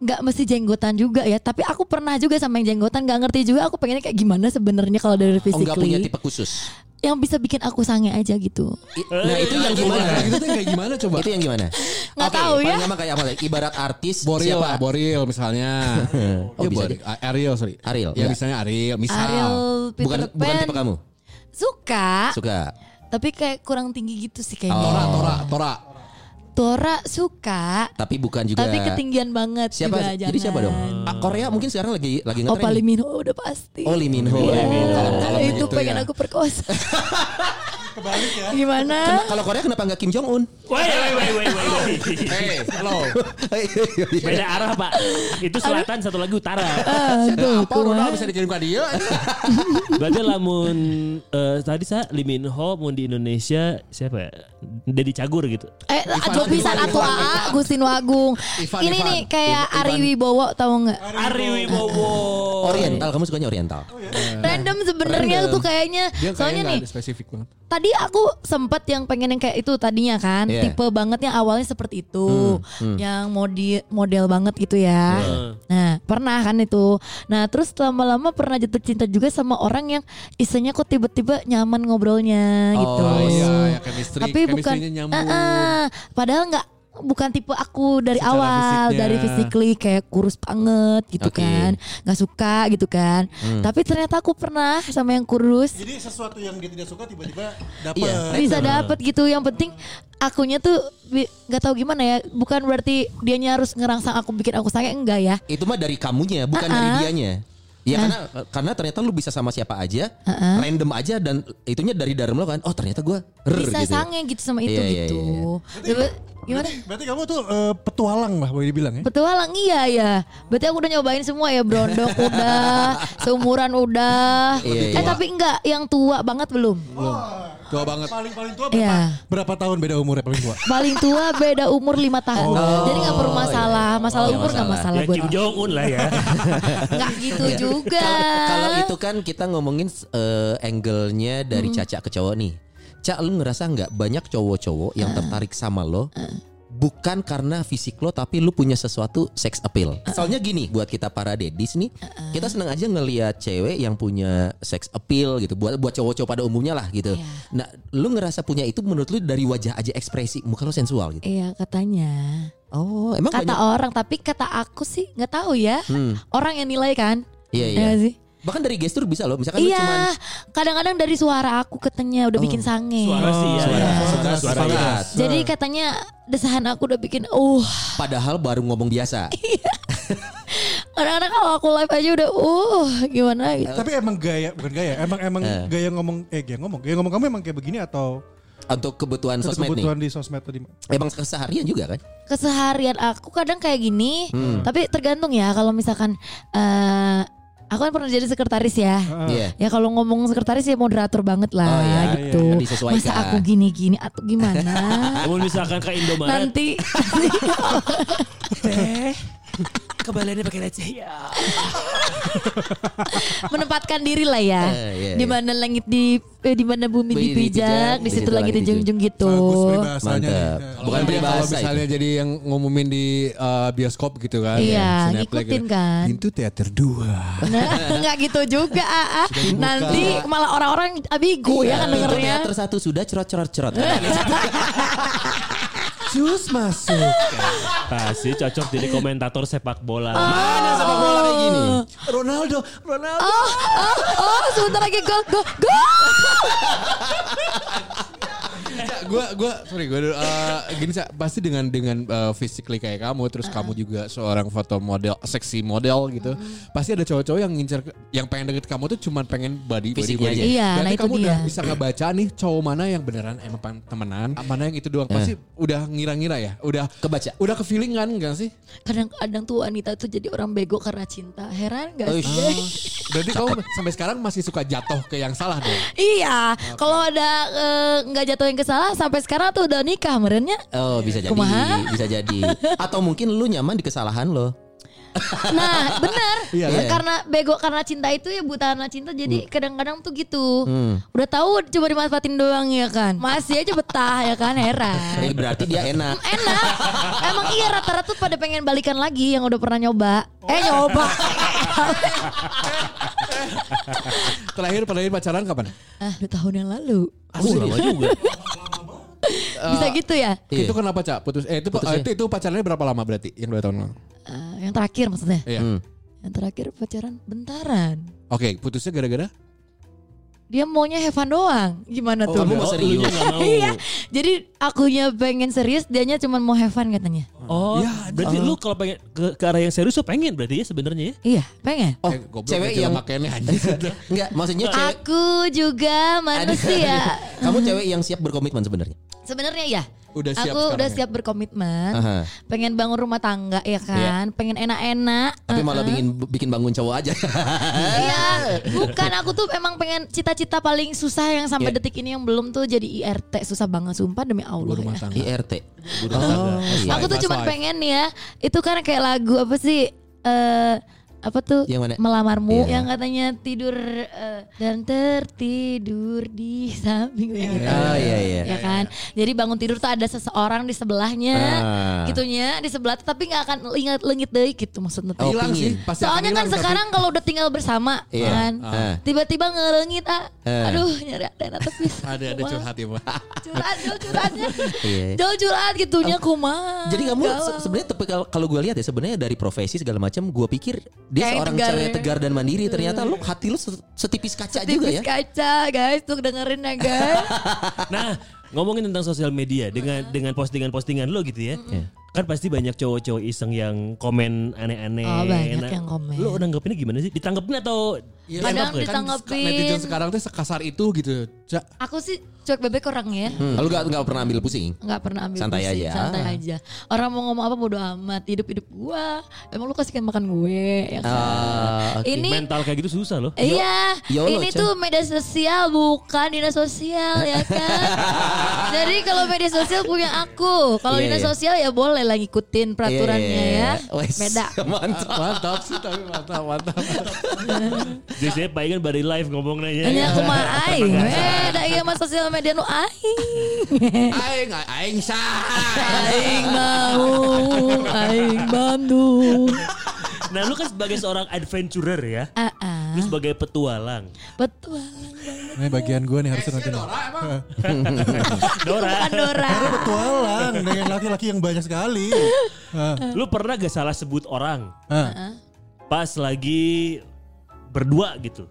S6: nggak mesti jenggotan juga ya tapi aku pernah juga sama yang jenggotan nggak ngerti juga aku pengennya kayak gimana sebenarnya kalau dari
S4: Oh, enggak punya
S6: physically
S4: tipe khusus.
S6: yang bisa bikin aku sange aja gitu
S4: I- Nah, itu yang
S3: Nah,
S4: gimana?
S3: itu tuh kayak gimana coba?
S4: Itu yang gimana?
S6: Nggak
S4: Oke,
S6: tahu ya.
S4: paling lama kayak apa? Ibarat artis
S3: Boril
S4: siapa?
S3: lah, Boril misalnya.
S4: Oh,
S3: Ya,
S4: bisa
S3: Boril. A- Ariel, sorry.
S4: Ariel, iya.
S3: Ya
S4: enggak.
S3: misalnya Ariel, misal.
S6: Ariel
S4: bukan
S6: Peter
S4: bukan
S6: Pan
S4: tipe kamu.
S6: suka
S4: Suka. Oh.
S6: tapi kayak kurang tinggi gitu sih
S3: Tora,
S6: kayaknya
S3: Tora, Tora.
S6: Tora suka
S4: Tapi bukan juga.
S6: tapi ketinggian banget
S4: Siapa?
S6: juga, Oh,
S4: jadi siapa dong?
S6: jangan.
S4: Ah, Korea mungkin sekarang lagi lagi ngetren.
S6: Opa Lee Min Ho udah pasti
S4: Oh, Lee Min Ho.
S6: Iya,
S4: Kalau-
S6: itu
S3: gitu
S6: pengen
S3: ya.
S6: aku perkosa. Gimana?
S4: Kalau Korea kenapa nggak Kim Jong Un?
S2: Woi, woi, woi, woi, woi.
S3: Hey, hello.
S2: Beda arah, Pak. Itu selatan, satu lagi utara.
S3: Siapa Ronaldo bisa dikirim ke dia?
S2: Berarti lamun eh, tadi saya Limin Ho mun di Indonesia siapa ya? Dedi Cagur gitu.
S6: Eh, aduh pisan
S3: Ivan,
S6: atuh
S3: Ivan,
S6: AA Gustin Wagung.
S3: Ivan,
S6: Ini
S3: Ivan.
S6: nih kayak Ari Wibowo tahu nggak?
S2: Ari Wibowo.
S3: Oh.
S4: Oriental, kamu sukanya Oriental.
S3: iya.
S6: Random sebenarnya
S4: Random.
S6: tuh kayaknya.
S3: Dia kayaknya
S6: Soalnya
S3: nggak
S6: nih
S3: ada spesifik banget.
S6: tadi aku sempat yang pengen yang kayak itu tadinya kan
S4: Iya.
S6: tipe banget yang awalnya seperti itu
S3: Hmm,
S6: yang modi model banget gitu ya
S3: Iya.
S6: nah pernah kan itu nah terus lama-lama pernah jatuh cinta juga sama orang yang isinya kok tiba-tiba nyaman ngobrolnya gitu
S3: Oh iya, ya chemistry,
S6: tapi bukan
S3: chemistry-nya nyambung.
S6: Ah, ah. padahal nggak bukan tipe aku dari
S3: Secara
S6: awal
S3: fisiknya.
S6: dari physically kayak kurus banget gitu
S4: Oke.
S6: kan nggak suka gitu kan
S3: Hmm.
S6: tapi ternyata aku pernah sama yang kurus
S5: Jadi sesuatu yang dia tidak suka tiba-tiba
S4: Iya.
S5: dapat.
S6: bisa dapet gitu yang penting akunya tuh bi- nggak tahu gimana ya bukan berarti dianya harus ngerangsang aku bikin aku sange enggak ya
S4: Itu mah dari kamunya, bukan dari
S3: Ah,
S4: dianya. Ya karena karena ternyata lu bisa sama siapa aja,
S3: Ah,
S4: random aja dan itunya dari dalam lo kan. Oh ternyata gue
S6: bisa sange gitu sama itu
S4: ya. Iya, iya,
S6: gitu
S4: iya, iya.
S6: Coba- gimana
S5: Berarti kamu tuh eh, petualang lah boleh dibilang ya.
S6: Petualang iya ya Berarti aku udah nyobain semua ya Brondok udah Seumuran udah
S4: Iya,
S6: Eh
S4: iya.
S6: tapi enggak Yang tua banget belum
S3: Tua banget.
S5: Paling paling tua berapa?
S6: Iya
S5: Berapa tahun beda umurnya paling tua?
S6: Paling tua beda umur 5 tahun
S4: Oh,
S6: Jadi nggak
S4: iya,
S6: perlu masalah Masalah umur nggak masalah,
S2: Ya
S6: buat
S2: Kim
S6: aku.
S2: Jong Un lah ya.
S6: Nggak gitu juga
S4: Iya. Kalau- Kalau itu kan kita ngomongin eh, angle-nya dari Caca ke cowok nih. Cak lu ngerasa nggak banyak cowok-cowok yang tertarik sama lo bukan karena fisik lo tapi lu punya sesuatu sex appeal. Soalnya gini buat kita para dedis nih, kita seneng aja ngelihat cewek yang punya sex appeal gitu buat buat cowok-cowok pada umumnya lah gitu.
S6: Iya.
S4: Nah, lu ngerasa punya itu menurut lu dari wajah aja ekspresi muka lo sensual gitu.
S6: Iya katanya
S4: Oh, emang
S6: kata
S4: banyak.
S6: orang tapi kata aku sih nggak tahu ya
S4: Hmm.
S6: orang yang nilai kan
S4: Iya,
S6: Iya
S4: iya.
S6: nggak sih
S4: Bahkan dari gestur bisa loh, misalkan lu
S6: iya
S4: cuman Oh,
S6: kadang-kadang dari suara aku katanya udah bikin sange
S2: Suara sih
S4: Iya,
S2: ya.
S6: Suara.
S2: Suara,
S5: Suara,
S2: suara,
S5: suara.
S2: ya.
S6: jadi katanya desahan aku udah bikin uh
S4: padahal baru ngomong biasa.
S6: kadang-kadang kalau aku live aja udah uh gimana
S4: Eh.
S6: gitu
S5: Tapi emang gaya bukan gaya, emang emang gaya ngomong eh gaya ngomong, gaya ngomong kamu emang kayak begini atau
S4: untuk kebutuhan sosmed
S5: kebutuhan di sosmed tadi?
S4: nih. Emang keseharian juga kan?
S6: keseharian aku kadang kayak gini
S4: Hmm.
S6: tapi tergantung ya kalau misalkan eh aku kan pernah jadi sekretaris ya
S3: Ah,
S4: Iya.
S6: Ya kalau ngomong sekretaris ya moderator banget lah
S4: Oh, iya,
S6: gitu.
S4: iya, disesuaikan.
S6: Masa aku gini-gini atau gimana?
S2: Namun misalkan ke Indomaret.
S6: nanti
S2: Kembaliannya pakai receh ya.
S6: Iya. menempatkan diri lah ya.
S4: Eh, iya,
S6: di mana langit di eh, di mana bumi
S4: Bumi
S6: dipijak, di situ langit dijunjung gitu.
S5: Bagus peribahasanya nih.
S4: Mantap. Bukan
S5: Eh,
S3: gitu. Kalau dia- kalau
S4: peribahasa
S3: misalnya
S4: itu.
S3: jadi yang ngumumin di eh, bioskop gitu kan.
S6: Iya,
S3: Cineplex
S6: ngikutin kan.
S3: gitu. Pintu teater dua.
S6: Nah, nggak gitu juga. ah, ah. Nanti malah orang-orang
S4: Oh,
S6: abigu ya
S3: Iya.
S6: kan
S4: Pintu
S6: dengernya.
S4: teater satu sudah Nah, cerot cerot cerot.
S6: Iya.
S3: Cus masuk.
S2: Pasti ah, cocok jadi komentator sepak bola.
S4: Mana sepak bola kayak gini?
S3: Ronaldo, Ronaldo.
S6: Oh, oh, oh, sebentar lagi gol, gol, gol.
S3: gue gue sorry gue gini Sa, pasti dengan dengan eh, physically kayak kamu terus kamu juga seorang foto model seksi model gitu pasti ada cowok-cowok yang ngincer ke- yang pengen deket kamu tuh cuman pengen body body
S4: Fisiknya
S3: body
S4: aja.
S6: Iya,
S3: Berarti
S6: nah itu
S3: kamu udah
S6: dia.
S3: bisa ngebaca nih cowok mana yang beneran emang pengen temenan mana yang itu doang pasti udah ngira-ngira ya udah
S4: Kebaca.
S3: udah ke feeling kan enggak sih
S6: Kadang-kadang tuh wanita tuh jadi orang bego karena cinta. Heran gak
S4: Uish.
S6: sih?
S3: berarti kamu sampai sekarang masih suka jatuh ke yang salah dong
S6: Iya, kalau ada eh, nggak jatuh yang ke salah sampai sekarang tuh udah nikah merenya.
S4: Oh bisa jadi,
S6: Kumaha?
S4: bisa jadi. Atau mungkin lu nyaman di kesalahan lo.
S6: Nah, benar.
S3: Iya,
S4: kan?
S6: Karena bego karena cinta itu ya buta karena cinta jadi kadang-kadang tuh gitu.
S4: Hmm.
S6: Udah tahu coba dimanfaatin doang ya kan. Masih aja betah ya kan heran.
S4: Eh, berarti dia enak.
S6: Enak. Emang iya rata-rata tuh pada pengen balikan lagi yang udah pernah nyoba. Eh nyoba.
S3: terakhir terakhir pacaran kapan
S6: ah, dua tahun yang lalu.
S2: Aku lama juga.
S6: Bisa gitu ya?
S4: Iya.
S3: itu kenapa cak putus eh itu
S4: Putusnya.
S3: itu, itu pacarannya berapa lama berarti yang dua tahun lalu
S6: Eh, yang terakhir maksudnya.
S3: Iya.
S4: Hmm.
S6: Yang terakhir pacaran bentaran.
S3: Oke, putusnya gara-gara
S6: Dia maunya have fun doang. Gimana tuh?
S4: Oh, kamu mau serius?
S2: Nggak mau.
S6: Iya. Jadi akunya pengen serius, dianya cuma mau have fun katanya.
S2: Oh, berarti lu kalau pengen ke, ke arah yang serius lu pengen berarti ya sebenarnya ya.
S6: Iya, pengen.
S4: Oh,
S3: Eh, goblok,
S4: cewek
S3: dia
S4: yang
S3: makainya aja.
S4: Enggak, maksudnya cewek.
S6: Aku kan ya. juga manusia.
S4: Kamu cewek yang siap berkomitmen sebenarnya.
S6: Sebenarnya ya.
S3: Udah siap
S6: aku
S3: sekarang ya?
S6: udah
S3: Iya.
S6: siap berkomitmen.
S4: Aha.
S6: Pengen bangun rumah tangga ya kan. Pengen enak-enak.
S4: Tapi malah bikin bikin bangun cowok aja.
S6: Iya, bukan aku tuh emang pengen cita-cita paling susah yang sampai
S4: Iya.
S6: detik ini yang belum tuh jadi IRT susah banget sumpah demi Allah.
S3: rumah
S6: ya.
S3: tangga.
S4: IRT. Oh,
S3: Iya.
S6: Aku tuh
S3: Fast
S6: cuma
S3: life.
S6: pengen ya, itu kan kayak lagu apa sih? eh apa tuh
S4: Yang mana? Iya.
S6: melamarmu yang katanya tidur eh, dan tertidur di samping ya gitu.
S4: Oh, iya, iya.
S6: Ya kan? Jadi bangun tidur tuh ada seseorang di sebelahnya.
S4: Ah.
S6: Gitunya di sebelah tapi nggak akan ingat lengit deh gitu maksudnya.
S4: Oh,
S3: Hilang sih,
S4: pingin.
S3: pasti akan
S6: Soalnya kan
S3: hilang, tapi-
S6: sekarang kalau udah tinggal bersama
S4: Iya.
S6: kan.
S4: Ah.
S6: Tiba-tiba ngerengit ah.
S4: Ah.
S6: Aduh nyari ada tapi
S3: ada ada curhat ya, Bu.
S6: Curhat, jauh curhatnya.
S4: Iya.
S6: Jauh curhat gitunya kumaha.
S4: Jadi kamu
S6: Galau.
S4: se- sebenarnya tapi kalau- kalau gue lihat ya sebenarnya dari profesi segala macam gue pikir dia
S6: Kayak
S4: seorang
S6: tegar.
S4: cewek tegar dan mandiri ternyata lu hati lu se- setipis kaca juga
S6: tipis
S4: ya.
S6: kaca guys tuh dengerin ya guys.
S2: Nah, ngomongin tentang sosial media dengan dengan postingan-postingan lo gitu ya. Kan pasti banyak cowok-cowok iseng yang komen aneh-aneh.
S6: Oh, banyak yang komen. Iya.
S2: Lo nanggepinnya gimana sih? Ditanggepin atau
S4: Iya,
S6: Kadang
S4: kan
S2: ditembak ya?
S6: ditanggepin.
S3: Netizen sekarang tuh sekasar itu gitu. Cak,
S6: Aku sih cuek bebek orangnya ya.
S4: Hmm. Lalu gak, gak pernah ambil pusing.
S6: nggak pernah ambil
S4: Santai
S6: pusing,
S4: aja.
S6: santai aja. Orang mau ngomong apa bodo amat, hidup-hidup gua. Emang lu kasihkan makan gue ya kan?
S4: Ah, oke.
S6: Ini
S2: mental kayak gitu susah loh.
S6: Iya,
S4: Yo- YOLO,
S6: ini
S4: Chan.
S6: tuh media sosial bukan dinas sosial ya kan. Jadi kalau media sosial punya aku, kalau
S4: Iya,
S6: dinas
S4: iya.
S6: sosial ya boleh lah ngikutin peraturannya ya.
S4: Wes,
S6: Beda.
S4: Mantap.
S3: mantap sih tapi mantap mantap.
S2: Biasanya Pak Igan bari live ngomongnya ya.
S6: Ini aku mah aing, beda iya mas sosial media nu aing.
S3: Aing aing sah.
S6: Aing mau, aing Bandung.
S2: Nah, lu kan sebagai seorang adventurer ya.
S6: Ah, ah.
S2: Lu sebagai petualang.
S6: betul.
S5: Ini bagian gue nih harusnya nanti. nih.
S2: Dora,
S5: Karena
S6: Pandora.
S5: petualang dengan laki-laki yang banyak sekali. Hah,
S6: Eh.
S2: lu pernah gak salah sebut orang
S5: hah.
S2: pas lagi berdua gitu?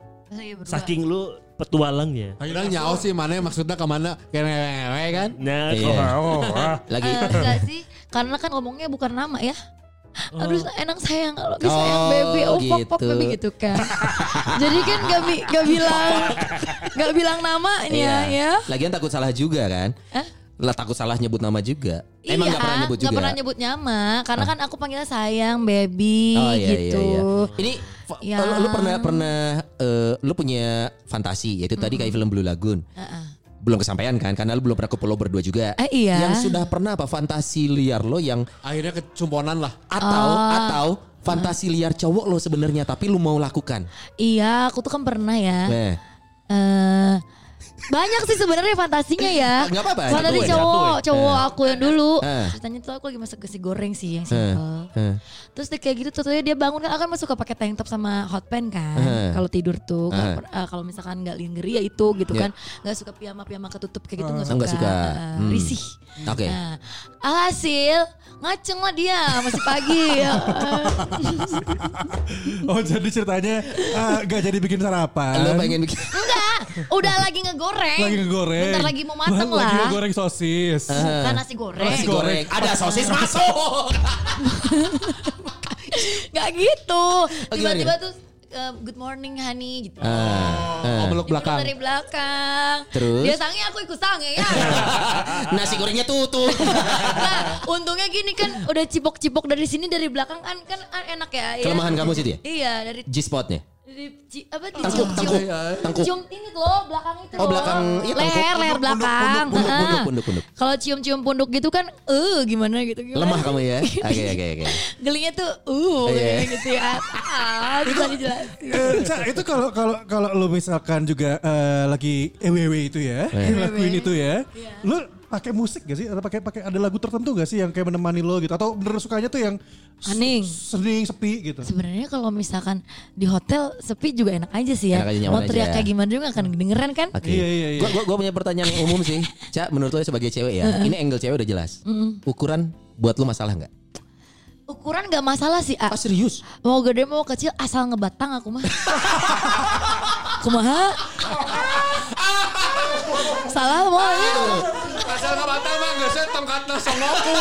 S2: Saking lu petualangnya.
S3: Akhirnya nyao sih mana maksudnya kemana kayak ngewe kan?
S2: Nah,
S4: Iya.
S2: kok-
S4: Lagi.
S6: Eh, enggak sih, karena kan ngomongnya bukan nama ya. Aduh enak sayang kalau bisa sayang
S4: Oh,
S6: baby oh pop pop
S4: gitu.
S6: baby gitu kan. Jadi kan gak, bi- gak bilang gak bilang nama ini ya ya.
S4: iya. Lagian takut salah juga kan?
S6: Hah?
S4: Lah takut salah nyebut nama juga. Emang
S6: iya,
S4: gak pernah nyebut juga.
S6: nggak
S4: ya? Ah.
S6: pernah nyebut nama karena kan aku panggilnya sayang baby
S4: Oh iya
S6: gitu.
S4: iya iya. Ini fa-
S6: Ya.
S4: lu, lu pernah pernah eh, lu punya fantasi yaitu tadi kayak film Blue Lagoon.
S6: Heeh.
S4: belum kesampaian kan karena lu belum pernah ke pulau berdua juga.
S6: Eh, iya.
S4: Yang sudah pernah apa fantasi liar lo yang
S3: Akhirnya kecumponan lah.
S4: atau
S6: Oh.
S4: atau fantasi liar cowok lo sebenarnya tapi lu mau lakukan.
S6: Iya, aku tuh kan pernah ya.
S4: Nah,
S6: Eh, banyak sih sebenarnya fantasinya
S4: Ah,
S6: ya.
S4: nggak apa-apa,
S6: Fantasi
S4: satu aja,
S6: cowok,
S4: satu aja.
S6: cowok aku yang dulu.
S4: Eh.
S6: Ceritanya tuh aku lagi masak nasi goreng sih yang simple.
S4: eh.
S6: Terus dia kayak gitu tentunya dia bangun kan akan masuk ke pakai tank top sama hot pants kan.
S4: Eh.
S6: Kalau tidur tuh nggak
S4: Eh.
S6: per- eh, kalau misalkan nggak lingerie ya itu gitu
S4: Iya.
S6: kan. Nggak suka piyama-piyama ketutup kayak gitu nggak
S4: Oh,
S6: suka.
S4: nggak suka.
S6: Eh,
S4: Hmm.
S6: Risih.
S4: Oke.
S6: Nah, alhasil ngaceng lah dia masih pagi. Eh,
S5: Oh jadi ceritanya ah, gak jadi bikin sarapan.
S4: Lo pengen bikin
S6: Enggak, udah lagi ngegoreng.
S5: lagi ngegoreng.
S6: Bentar lagi mau mateng
S5: Lagi
S6: lah.
S5: ngegoreng sosis.
S4: Ah.
S6: Bukan nasi goreng.
S4: Eh. nasi goreng. Ada sosis masuk.
S6: Gak gitu.
S4: Oh, gimana,
S6: Tiba-tiba
S4: gimana?
S6: tuh eh, good morning honey gitu.
S4: Ah, ah.
S5: Meluk
S6: Dia
S5: belakang.
S6: dari belakang.
S4: Terus?
S6: Dia sange aku ikut sange ya.
S4: Nasi gorengnya tutup.
S6: nah, untungnya gini kan udah cipok-cipok dari sini dari belakang kan kan enak ya. ya.
S4: Kelemahan kamu situ ya?
S6: Iya, dari
S4: G-spotnya.
S6: dari ci- apa di
S4: Tengkuk,
S6: cium-
S4: tengkuk,
S6: cium-
S4: tengkuk.
S6: cium ini loh belakang itu
S4: Oh,
S6: loh.
S4: belakang, iya, tengkuk.
S6: leher leher
S4: Punduk, punduk,
S6: belakang
S4: punduk, punduk,
S6: Ah.
S4: punduk, punduk.
S6: kalau cium cium punduk gitu kan eh gimana gitu gimana
S4: Lemah kamu ya. Oke oke oke.
S6: gelinya tuh uh
S4: Iya.
S6: kayak gitu ya ah, bisa dijelasin
S5: Eh, Ca, itu kalau kalau kalau lo misalkan juga eh, lagi ewewe itu ya, ngelakuin itu ya,
S6: Iya.
S5: lo pakai musik gak sih? Atau pakai pakai ada lagu tertentu gak sih yang kayak menemani lo gitu? Atau bener sukanya tuh yang s-
S6: Hening.
S5: sening sepi gitu?
S6: Sebenarnya kalau misalkan di hotel sepi juga enak aja sih ya.
S4: Enak aja, nyaman
S6: Mau teriak
S4: aja.
S6: kayak gimana juga akan kedengeran kan?
S4: Oke.
S5: Iya, iya, iya.
S4: Gua, gua, gua punya pertanyaan yang umum sih. Cak, menurut lo sebagai cewek ya, ini angle cewek udah jelas. Ukuran buat lo masalah nggak?
S6: Ukuran gak masalah sih, A.
S4: Ah serius?
S6: Mau gede mau kecil asal ngebatang aku mah. Kumaha? Salah mau ya.
S3: Asal nggak batal mah nggak saya tongkatnya songoku.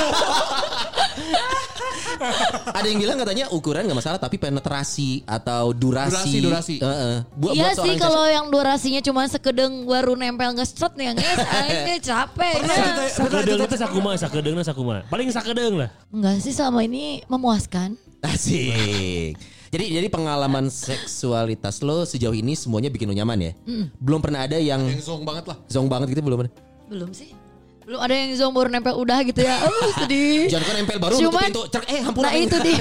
S4: Ada yang bilang katanya ukuran nggak masalah tapi penetrasi atau durasi.
S3: Durasi, durasi.
S4: Eh, eh. Buat,
S6: Iya
S4: buat
S6: sih
S4: seorang
S6: kalau yang durasinya cuma sekedeng baru nempel ngesot nih yang guys, akhirnya capek. Nah.
S2: Sakedeng itu sakuma, sakedeng itu sakuma. Paling sakedeng lah.
S6: Enggak sih selama ini memuaskan.
S4: cewek- Asik. Jadi jadi pengalaman seksualitas lo sejauh ini semuanya bikin lo nyaman ya? Belum pernah ada yang
S3: Yang zong banget lah.
S4: zong banget gitu belum?
S6: Belum sih. Belum ada yang zong baru nempel udah gitu ya. Aduh sedih.
S4: Jangan kan nempel baru tutup
S6: Cuman-
S4: pintu. Cerk, eh hampura.
S6: Nah itu dia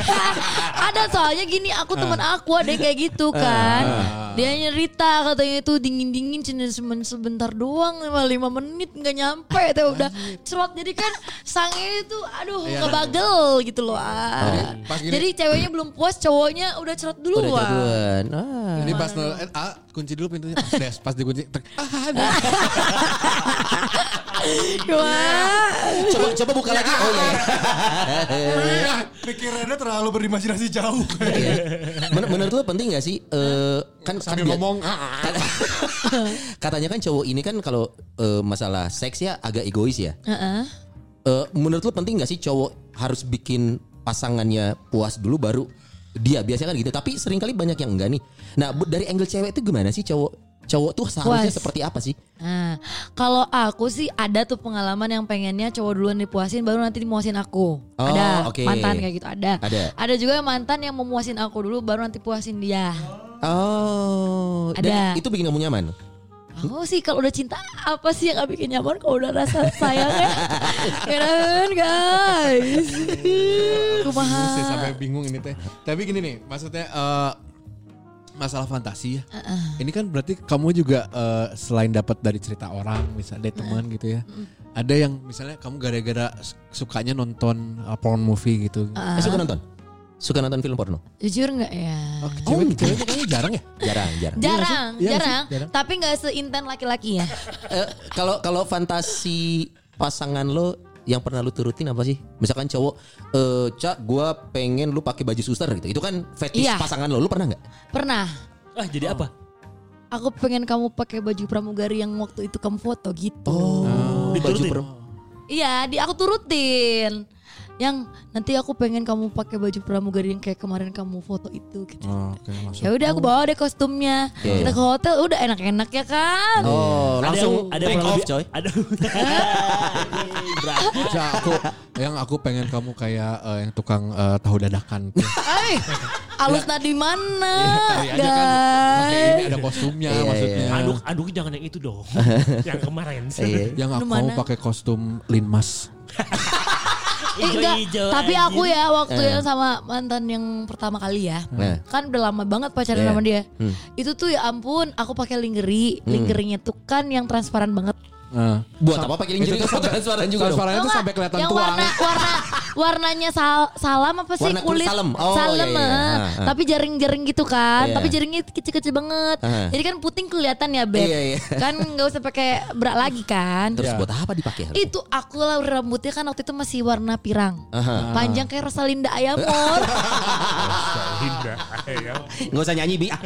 S6: Ada soalnya gini Aku teman
S4: Ah.
S6: aku ada yang kayak gitu kan Dia nyerita katanya itu dingin-dingin Cuma semen- sebentar doang lima- Lima menit nggak nyampe
S4: Ah.
S6: Teh udah cerot Jadi kan sange itu Aduh
S4: Iya.
S6: kebagel gitu
S4: Oh.
S6: loh ah.
S3: Pas gini.
S6: Jadi ceweknya belum puas Cowoknya udah cerot dulu
S4: Udah jagoan. Ah.
S3: Jadi pas nol, eh, ah, kunci dulu pintunya. Pas, des, pas dikunci. tek, ah, ada.
S6: Wah
S4: Coba coba buka lagi. Oh iya.
S5: Iya, pikirannya terlalu berimajinasi jauh.
S4: Iya. Men- menurut lo penting gak sih eh, kan
S3: Sambil
S4: kan dia-
S3: ngomong. ah, ah.
S4: kat- katanya kan cowok ini kan kalau eh, masalah seks ya agak egois ya.
S6: Heeh.
S4: Eh, menurut lo penting gak sih cowok harus bikin pasangannya puas dulu baru dia biasanya kan gitu. Tapi seringkali banyak yang enggak nih. Nah bu- dari angle cewek itu gimana sih cowok cowok tuh seharusnya
S6: Puas.
S4: seperti apa sih?
S6: Nah, kalau aku sih ada tuh pengalaman yang pengennya cowok duluan dipuasin baru nanti dimuasin aku.
S4: Oh,
S6: ada
S4: oke.
S6: mantan kayak gitu ada.
S4: Ada.
S6: juga yang mantan yang mau muasin aku dulu baru nanti puasin dia.
S4: Oh, dan
S6: Ada.
S4: itu bikin kamu nyaman.
S6: Aku sih kalau udah cinta apa sih yang gak bikin nyaman kalau udah rasa sayang ya? Ya kan guys. Kumaha.
S3: Saya Iya sampai bingung ini teh. Tapi gini nih, maksudnya eh, masalah fantasi ya. Ini kan berarti kamu juga eh, selain dapat dari cerita orang, misalnya dari teman gitu ya. Ada yang misalnya kamu gara-gara s- sukanya nonton eh, porn movie gitu.
S6: Ah.
S4: Eh, suka nonton? Suka nonton film porno?
S6: Jujur nggak ya?
S3: Oh, cewek, ceweknya kayaknya jarang ya.
S4: Jarang,
S3: Iya nggak sih? Iya
S4: jarang.
S6: Jarang,
S3: nggak sih?
S6: jarang,
S3: Jarang.
S6: Tapi nggak seinten laki-laki ya.
S4: Eh, kalau kalau fantasi pasangan lo yang pernah lu turutin apa sih? Misalkan cowok, eh cak, gue pengen lu pakai baju suster gitu. Itu kan fetish
S6: Iya.
S4: pasangan lo. Lu pernah nggak?
S6: Pernah.
S2: Ah jadi apa?
S6: Aku pengen kamu pakai baju pramugari yang waktu itu kamu foto gitu.
S4: Oh, baju
S2: Diturutin.
S4: per-
S6: Iya, di aku turutin. Yang nanti aku pengen kamu pakai baju pramugari yang kayak kemarin kamu foto itu gitu.
S3: Oke, langsung.
S6: Ya udah aku bawa deh kostumnya.
S4: Oh, Iya,
S6: Kita
S4: iya.
S6: ke hotel udah enak-enak ya kan.
S2: Ada
S4: Oh, langsung
S2: yang- ada yang
S4: take
S2: pernah
S4: off
S2: lebih-
S4: coy.
S2: Ada
S4: Bra.
S3: Cak, aku yang aku pengen kamu kayak eh, yang tukang eh, tahu dadakan. tuh.
S6: Ay, alus tadi mana,
S3: Iya, kali aja kan. Pakai ini
S6: guys?
S3: ada kostumnya
S4: Iya,
S3: maksudnya.
S2: Aduk, aduk jangan yang itu dong. yang kemarin.
S4: Iya.
S3: Yang aku
S6: Lu
S3: mau
S6: mana?
S3: pakai kostum linmas.
S6: Eh, enggak. Tapi aku ya
S4: Iya.
S6: waktu yang sama mantan yang pertama kali ya.
S4: Nah.
S6: Kan udah lama banget pacaran
S4: Iya.
S6: sama dia.
S4: Hmm.
S6: Itu tuh ya ampun, aku pakai lingerie. Lingerie-nya tuh kan yang transparan banget.
S3: Nah,
S4: Buat apa pakai lingerie
S3: Itu tuh sampai-
S4: transparan juga dong.
S3: transparannya tuh
S6: Tau
S3: sampai
S6: nggak?
S3: kelihatan
S6: yang
S3: tulang.
S6: warna warna warnanya sal- salam apa sih
S4: Warna kulit
S6: kulit
S4: salam. Oh, iya, iya.
S6: eh.
S4: Ah, ah.
S6: tapi jaring-jaring gitu kan
S4: Iya.
S6: tapi jaringnya kecil-kecil banget
S4: Ah.
S6: jadi kan puting kelihatan ya beb
S4: Iya, iya.
S6: kan nggak usah pakai bra lagi kan
S4: Terus buat apa dipakai? harusnya?
S6: itu aku lah rambutnya kan waktu itu masih warna pirang
S4: Aha. Ah.
S6: panjang kayak Rosalinda Ayamor
S4: Nggak usah nyanyi bi. Ah.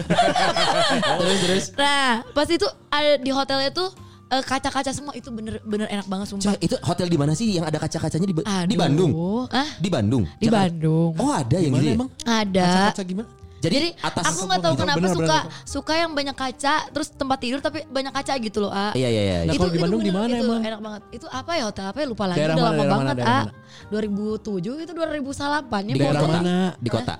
S4: terus terus.
S6: nah pas itu ada di hotelnya tuh eh, kaca-kaca semua itu bener bener enak banget
S4: Coba
S6: sumpah
S4: itu hotel di mana sih yang ada kaca-kacanya di, Ba- di
S6: Aduh.
S4: Bandung?
S6: ah
S4: Di Bandung.
S6: di
S4: Jakarta.
S6: Bandung
S4: Oh ada yang gitu. ya?
S3: emang?
S6: ada
S3: Kaca gimana?
S4: Jadi,
S6: Jadi
S4: atas
S6: aku nggak tahu
S5: gitu.
S6: kenapa
S5: Benar,
S6: suka
S5: benar,
S6: suka yang banyak kaca, terus tempat tidur tapi banyak kaca gitu loh. Ah.
S4: Iya iya iya.
S3: Nah, kalau di Bandung di
S6: bener,
S3: mana
S6: itu
S3: emang?
S6: Enak banget. Itu apa ya hotel apa ya lupa lagi.
S3: Daerah
S6: Udah
S3: mana,
S6: lama
S3: daerah
S6: banget.
S3: mana, daerah
S6: ah. 2007 itu 2008 ya
S4: Di
S6: foto
S4: kota.
S6: di-
S4: Di kota.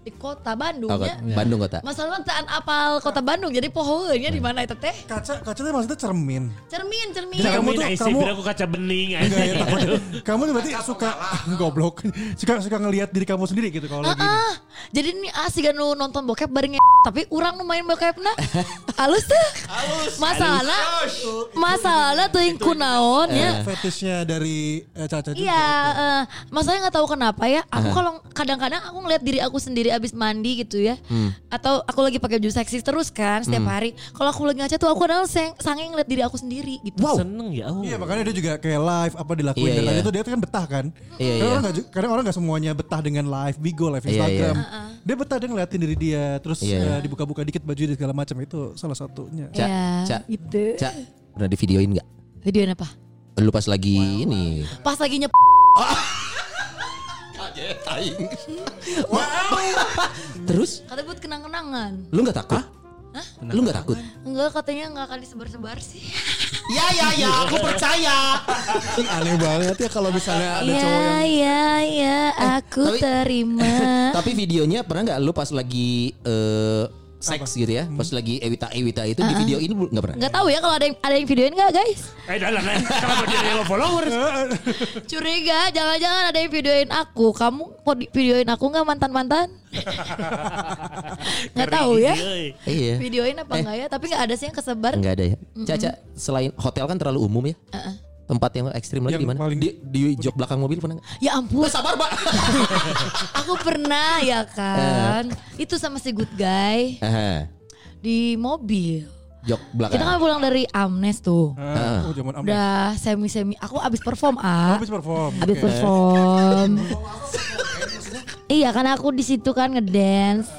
S6: di kota Bandung
S4: Oh,
S6: ya.
S4: kota. Bandung kota.
S6: Masalah taan apal kota Bandung jadi pohonnya
S3: Hmm.
S6: di mana itu teh?
S5: Kaca kaca itu maksudnya cermin.
S6: Cermin, cermin.
S5: Jadi
S2: Kamu
S5: Kamu tuh-
S2: tuh
S5: kamu-
S2: aku kaca bening
S5: Enggak
S2: anjing.
S5: ya takutnya. Kamu tuh berarti suka goblok. Suka suka ngelihat diri kamu sendiri gitu kalau lagi. ini.
S6: Ah, jadi ini asik kan lu nonton bokep bareng nge- tapi orang nu main bokepna halus tuh. Masalahnya masalahnya tuh yang kunaon
S4: Eh.
S6: ya.
S5: Fetishnya dari eh, Caca juga.
S6: Iya, eh, masalahnya nggak tahu kenapa ya. Aku kalau kadang-kadang aku ngeliat diri aku sendiri abis mandi gitu ya,
S4: Hmm.
S6: atau aku lagi pakai baju seksi terus kan setiap hari. Kalau aku lagi ngaca tuh aku kadang seng, sange ngeliat diri aku sendiri gitu.
S4: Wow.
S2: Seneng ya. Oh.
S5: Iya makanya dia juga kayak live apa dilakuin
S4: Iya,
S5: dan
S4: iya.
S5: lain itu dia tuh kan betah kan.
S4: Iya,
S5: karena
S4: iya.
S5: orang gak, karena orang gak semuanya betah dengan live Bigo, live
S4: Iya,
S5: Instagram. Dia betah dia ngeliatin diri dia terus
S4: Iya,
S5: eh,
S4: iya.
S5: dibuka-buka dikit baju dan segala macam itu salah satunya.
S4: Ca,
S6: Ya,
S4: ca,
S6: gitu.
S4: ca. Pernah di videoin nggak?
S6: Video apa?
S4: Lu pas lagi ini.
S6: Pas lagi nyep.
S4: Terus
S6: Kata buat kenang-kenangan.
S4: lu nggak takut? Lu nggak takut?
S6: Enggak katanya nggak akan disebar-sebar sih.
S4: Ya ya ya, aku percaya.
S3: Aneh banget ya kalau misalnya ada cowok yang
S6: Ya ya ya aku
S4: Eh, tapi-
S6: terima.
S4: Tapi videonya pernah nggak lu pas lagi eh, seks gitu ya? Pas lagi Ewita Ewita itu di video ini nggak pernah?
S6: Nggak tahu ya kalau ada yang ada yang videoin nggak guys?
S2: Eh dah lah. dah. Kenapa jadi yellow followers?
S6: Curiga, jangan-jangan ada yang videoin aku. Kamu mau di- videoin aku nggak mantan-mantan? Nggak tahu ya.
S4: Iya.
S6: Videoin apa enggak ya? Tapi nggak ada sih yang kesebar.
S4: Nggak ada ya. Caca, selain hotel kan terlalu umum ya. Tempat yang ekstrim lagi
S5: Yang
S4: di mana?
S5: paling-
S4: Di, di jok belakang mobil pernah nggak?
S6: Ya
S4: Eh,
S6: ampun,
S4: Sabar, Mbak.
S6: aku pernah ya kan.
S4: Eh.
S6: Itu sama si good guy di mobil.
S4: jok belakang.
S6: Kita kan pulang dari Amnes tuh.
S5: Ah, oh zaman amat.
S6: Udah semi-semi. Aku abis perform ah.
S4: Oh,
S5: Habis perform.
S6: Abis perform. Iya kan aku di situ kan ngedance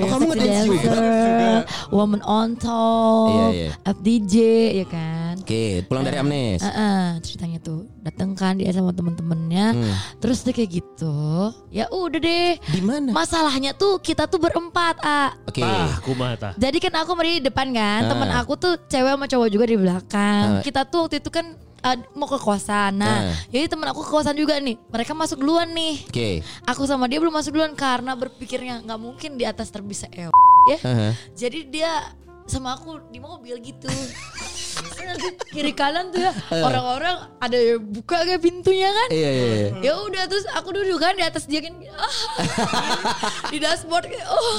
S4: Oh, kamu
S6: Sexy
S4: ngedance juga?
S6: dancer, Woman on top,
S4: Iya, iya.
S6: up DJ ya kan.
S4: Oke, pulang dari Amnes.
S6: Heeh, ceritanya tuh dateng kan dia sama temen-temennya
S4: Hmm.
S6: terus dia kayak gitu ya udah deh
S4: Di mana?
S6: masalahnya tuh kita tuh berempat ah
S4: Oke.
S2: Tah, aku mah tah.
S6: jadi kan aku mari di depan
S4: Ah.
S6: kan temen aku tuh cewek sama cowok juga di
S4: Ah.
S6: belakang kita tuh waktu itu kan ah, mau ke kosan nah
S4: Ah.
S6: jadi temen aku ke kosan juga nih mereka masuk duluan nih
S4: Oke.
S6: aku sama dia belum masuk duluan karena berpikirnya nggak mungkin di atas terbisa el ya
S4: Aha.
S6: jadi dia sama aku di mobil gitu Nanti kiri kanan tuh ya
S4: Ah.
S6: orang-orang ada yang buka kayak pintunya kan
S4: Iya, iya, iya.
S6: ya udah terus aku duduk kan di atas dia kan ah. di dashboard kayak, oh.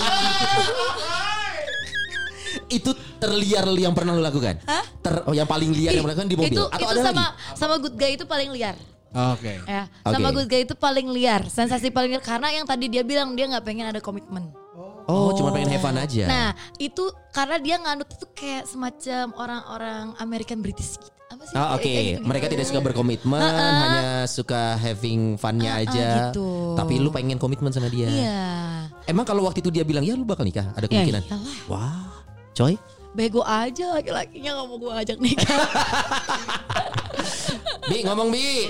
S4: Itu terliar yang pernah lu lakukan? Ter- oh, yang paling liar yang pernah lakukan di mobil?
S6: itu
S4: Atau
S6: itu
S4: ada
S6: sama
S4: lagi?
S6: sama good guy itu paling liar
S3: Oke.
S6: ya
S4: Oke.
S6: sama good guy itu paling liar sensasi paling liar karena yang tadi dia bilang dia nggak pengen ada komitmen
S4: Oh, cuma pengen have fun aja.
S6: Nah, itu karena dia nganut itu kayak semacam orang-orang American British gitu. Apa sih?
S4: Ah, Oke,
S6: Kayak gitu-gitu.
S4: mereka tidak suka berkomitmen,
S6: Heeh.
S4: hanya suka having funnya
S6: Heeh,
S4: aja.
S6: gitu.
S4: Tapi lu pengen komitmen sama dia.
S6: Iya.
S4: Emang kalau waktu itu dia bilang ya lu bakal nikah, ada
S6: Ya
S4: kemungkinan.
S6: iyalah.
S4: Wah, coy.
S6: Bego aja laki-lakinya gak mau gue ajak nikah.
S4: Bi ngomong Bi. Iya,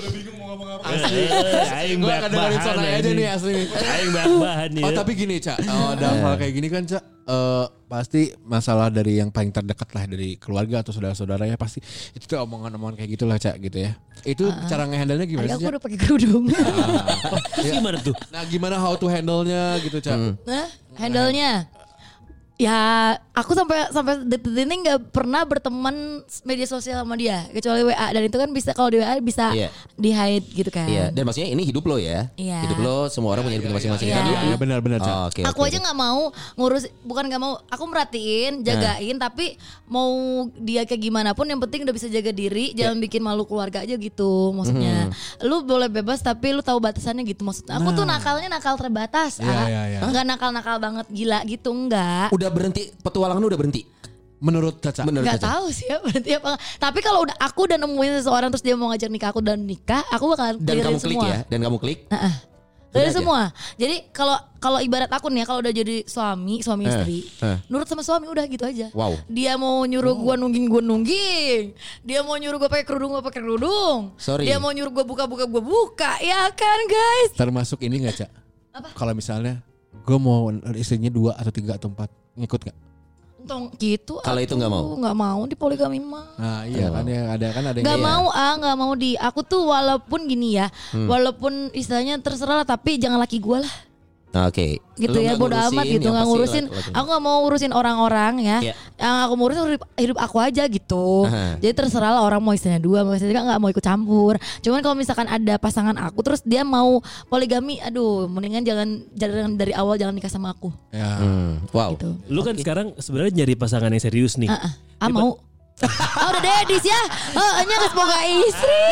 S2: Asli. Eh, Aing
S3: Gue
S2: banyak
S3: akan dengerin
S2: bahan
S3: soalnya aja
S2: anjing.
S3: nih asli nih.
S2: Aing banyak bahan
S6: Iya.
S2: ya.
S3: Oh tapi gini Ca, oh, dalam hal kayak gini kan Ca, eh, pasti masalah dari yang paling terdekat lah dari keluarga atau saudara-saudara ya pasti itu tuh omongan-omongan kayak gitulah Ca gitu ya. Itu cara ngehandle-nya gimana
S6: Tadi
S3: sih?
S6: aku
S3: Ca?
S6: udah pakai kerudung.
S2: Terus gimana tuh?
S6: Hmm,
S3: Nah gimana how to handle-nya gitu Ca?
S6: nah, handle-nya. Ya, aku sampai sampai detik ini nggak pernah berteman media sosial sama dia kecuali WA dan itu kan bisa kalau di WA bisa
S4: Iya.
S6: di hide gitu kan.
S4: Iya, dan maksudnya ini hidup lo ya.
S6: Iya.
S4: Hidup lo semua orang punya hidup masing-masing.
S6: iya,
S4: Kan
S6: iya.
S4: lo-
S3: Iya, benar-benar, Cak.
S4: Oh, oke, oke.
S6: aku
S4: Nah.
S6: aja nggak mau ngurus bukan nggak mau aku merhatiin jagain tapi mau dia kayak gimana pun yang penting udah bisa jaga diri
S4: Iya.
S6: jangan bikin malu keluarga aja gitu
S4: Hmm.
S6: maksudnya lu boleh bebas tapi lu tahu batasannya gitu maksudnya aku tuh
S4: Nah.
S6: nakalnya nakal terbatas ah.
S5: iya, iya.
S6: nggak nakal nakal banget gila gitu enggak
S4: Udah berhenti petualangan udah berhenti.
S3: Menurut Caca.
S4: Menurut
S6: nggak
S4: Caca.
S6: tahu sih ya berarti apa tapi kalau udah aku udah nemuin seseorang terus dia mau ngajak nikah aku dan nikah aku bakalan
S4: Dan
S6: clearin
S4: kamu klik
S6: semua
S4: ya, dan kamu klik. Udah
S6: Dari
S4: aja.
S6: semua. Jadi kalau kalau ibarat aku nih ya, kalau udah jadi suami, suami istri,
S4: eh.
S6: nurut sama suami udah gitu aja.
S4: Wow. Oh.
S6: Dia mau nyuruh gua nungging gua nungging. Dia mau nyuruh gua pakai kerudung gua pakai kerudung.
S4: Sorry.
S6: Dia mau nyuruh gua buka-buka gua buka. Ya kan, guys?
S3: Termasuk ini gak Cak? Kalau misalnya gue mau istrinya dua atau tiga atau empat. Ngikut gak?
S6: Untung gitu.
S4: Kalau itu
S6: atuh.
S4: nggak mau.
S6: nggak mau di poligami mah.
S3: Nah iya kan ya ada kan ada yang
S6: Gak
S3: kayak-
S6: mau ah, gak mau di. Aku tuh walaupun gini ya,
S4: Hmm.
S6: walaupun istilahnya terserah lah, tapi jangan laki gua lah.
S4: Nah, Oke.
S6: gitu
S4: Lo
S6: ya
S4: nggak
S6: bodo
S4: ngurusin
S6: amat gitu
S4: yang
S6: nggak
S4: pasti
S6: ngurusin
S4: laki-laki.
S6: aku nggak mau ngurusin orang-orang ya
S4: Hmm. Iya.
S6: yang aku mau urusin hidup, hidup aku aja gitu
S4: Aha.
S6: jadi terserah lah orang mau istrinya dua mau istrinya tiga, nggak mau ikut campur cuman kalau misalkan ada pasangan aku terus dia mau poligami aduh mendingan jangan jangan dari awal jangan nikah sama aku
S3: Ya.
S4: Hmm, Wow.
S6: gitu
S2: Lu kan sekarang sebenarnya nyari pasangan yang serius nih.
S6: ah, ah mau Ah, udah deh Dis ya oh, Enya nggak semoga istri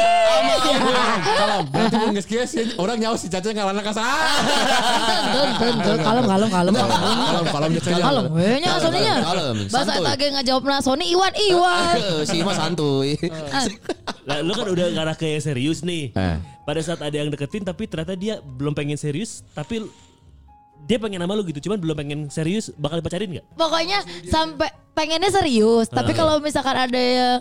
S3: Kalau berarti gue nggak sekilas ya, orang nyawa si Caca ngalana kasar.
S6: Tuh, tuh, tuh, kalem kalem kalem
S3: Kalau kalau Caca
S6: kalem eh, Enya
S4: Kalem,
S6: Soninya
S4: kalem,
S6: bahasa
S4: Hmm, santuy.
S6: eta ge nggak jawab Sony Iwan Iwan
S4: Eh, Si Mas santuy.
S2: Lah, lu kan udah ngarah ke yang serius nih.
S4: Eh.
S2: Pada saat ada yang deketin tapi ternyata dia belum pengen serius tapi l- dia pengen sama lu gitu cuman belum pengen serius bakal dipacarin nggak?
S6: pokoknya sampai pengennya serius
S4: Eh.
S6: tapi kalau misalkan ada yang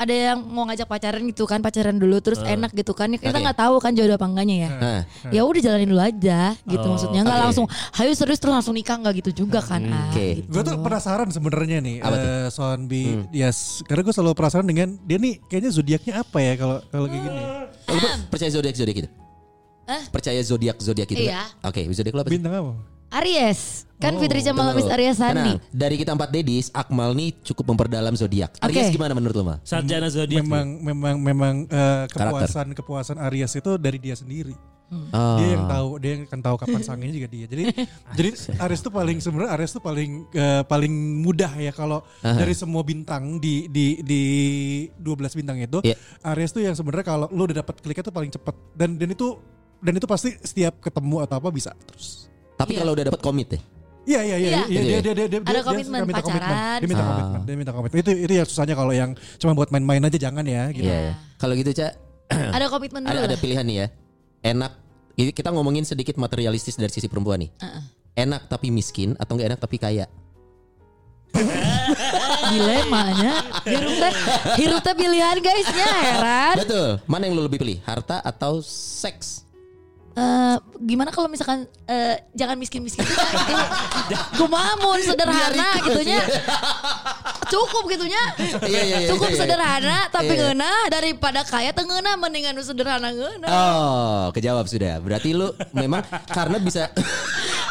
S6: ada yang mau ngajak pacaran gitu kan pacaran dulu terus
S4: Eh.
S6: enak gitu kan ya kita
S4: Oke.
S6: nggak tahu kan jodoh apa enggaknya ya
S4: Nah,
S6: ya udah jalanin dulu aja gitu
S2: Oh,
S6: maksudnya nggak
S4: oke. Hmm,
S6: langsung hayu serius terus langsung nikah nggak gitu juga kan ah,
S4: Oke.
S6: gitu.
S5: Gue tuh penasaran sebenarnya nih
S4: Apa tuh? Hmm.
S5: eh Soan B. Yes, karena gue selalu penasaran dengan dia nih kayaknya zodiaknya apa ya kalau kalau kayak gini.
S4: Lo per- percaya zodiak zodiak gitu?
S6: Hah?
S4: Percaya zodiak zodiak gitu?
S6: Iya.
S4: nggak? Oke, zodiak lo apa sih?
S5: Bintang apa?
S6: Aries
S4: Oh,
S6: kan Fitri Camalamis
S4: Tunggu.
S6: Aries
S4: Tenang.
S6: Sandi
S4: Dari kita empat dedis, Akmal nih cukup memperdalam zodiak. Aries
S6: Oke.
S4: gimana menurut lo, Ma?
S2: Sarjana zodiak.
S5: Hmm, Memang memang memang eh,
S4: Karakter.
S5: kepuasan kepuasan Aries itu dari dia sendiri.
S6: Hmm.
S4: Oh.
S5: Dia yang tahu, dia yang akan tahu kapan sanginya juga dia. Jadi jadi Aries tuh paling sebenarnya Aries tuh paling eh, paling mudah ya kalau dari semua bintang di di di 12 bintang itu
S4: Iya.
S5: Aries tuh yang sebenarnya kalau lu udah dapat kliknya tuh paling cepat dan dan itu dan itu pasti setiap ketemu atau apa bisa terus.
S4: Tapi kalau udah dapat komit deh.
S5: Iya iya iya
S6: Iya.
S5: iya dia dia dia dia
S6: Ada
S5: dia- dia
S6: komitmen,
S5: suka minta
S6: pacaran.
S5: Dia minta
S4: Ah.
S5: komitmen, dia minta komitmen. Itu itu yang susahnya kalau yang cuma buat main-main aja jangan ya gitu.
S4: Iya. ya. Kalau gitu, Cak,
S6: ada komitmen dulu
S4: ada ada
S6: lah.
S4: pilihan nih ya. Enak ini kita ngomongin sedikit materialistis dari sisi perempuan nih. Enak tapi miskin atau enggak enak tapi kaya?
S6: Ah, dilemanya hirup teh hirup teh pilihan guysnya heran
S4: Betul. Mana yang lo lebih pilih? Harta atau seks?
S6: Eh, gimana kalau misalkan eh, jangan miskin miskin kumamun sederhana gitunya cukup gitunya
S4: Iya, iya, iya,
S6: cukup
S4: iya, iya.
S6: sederhana tapi
S4: Iya.
S6: ngeuna daripada kaya tengena mendingan nu sederhana ngeuna
S4: Oh, kejawab sudah. Berarti lu memang karena bisa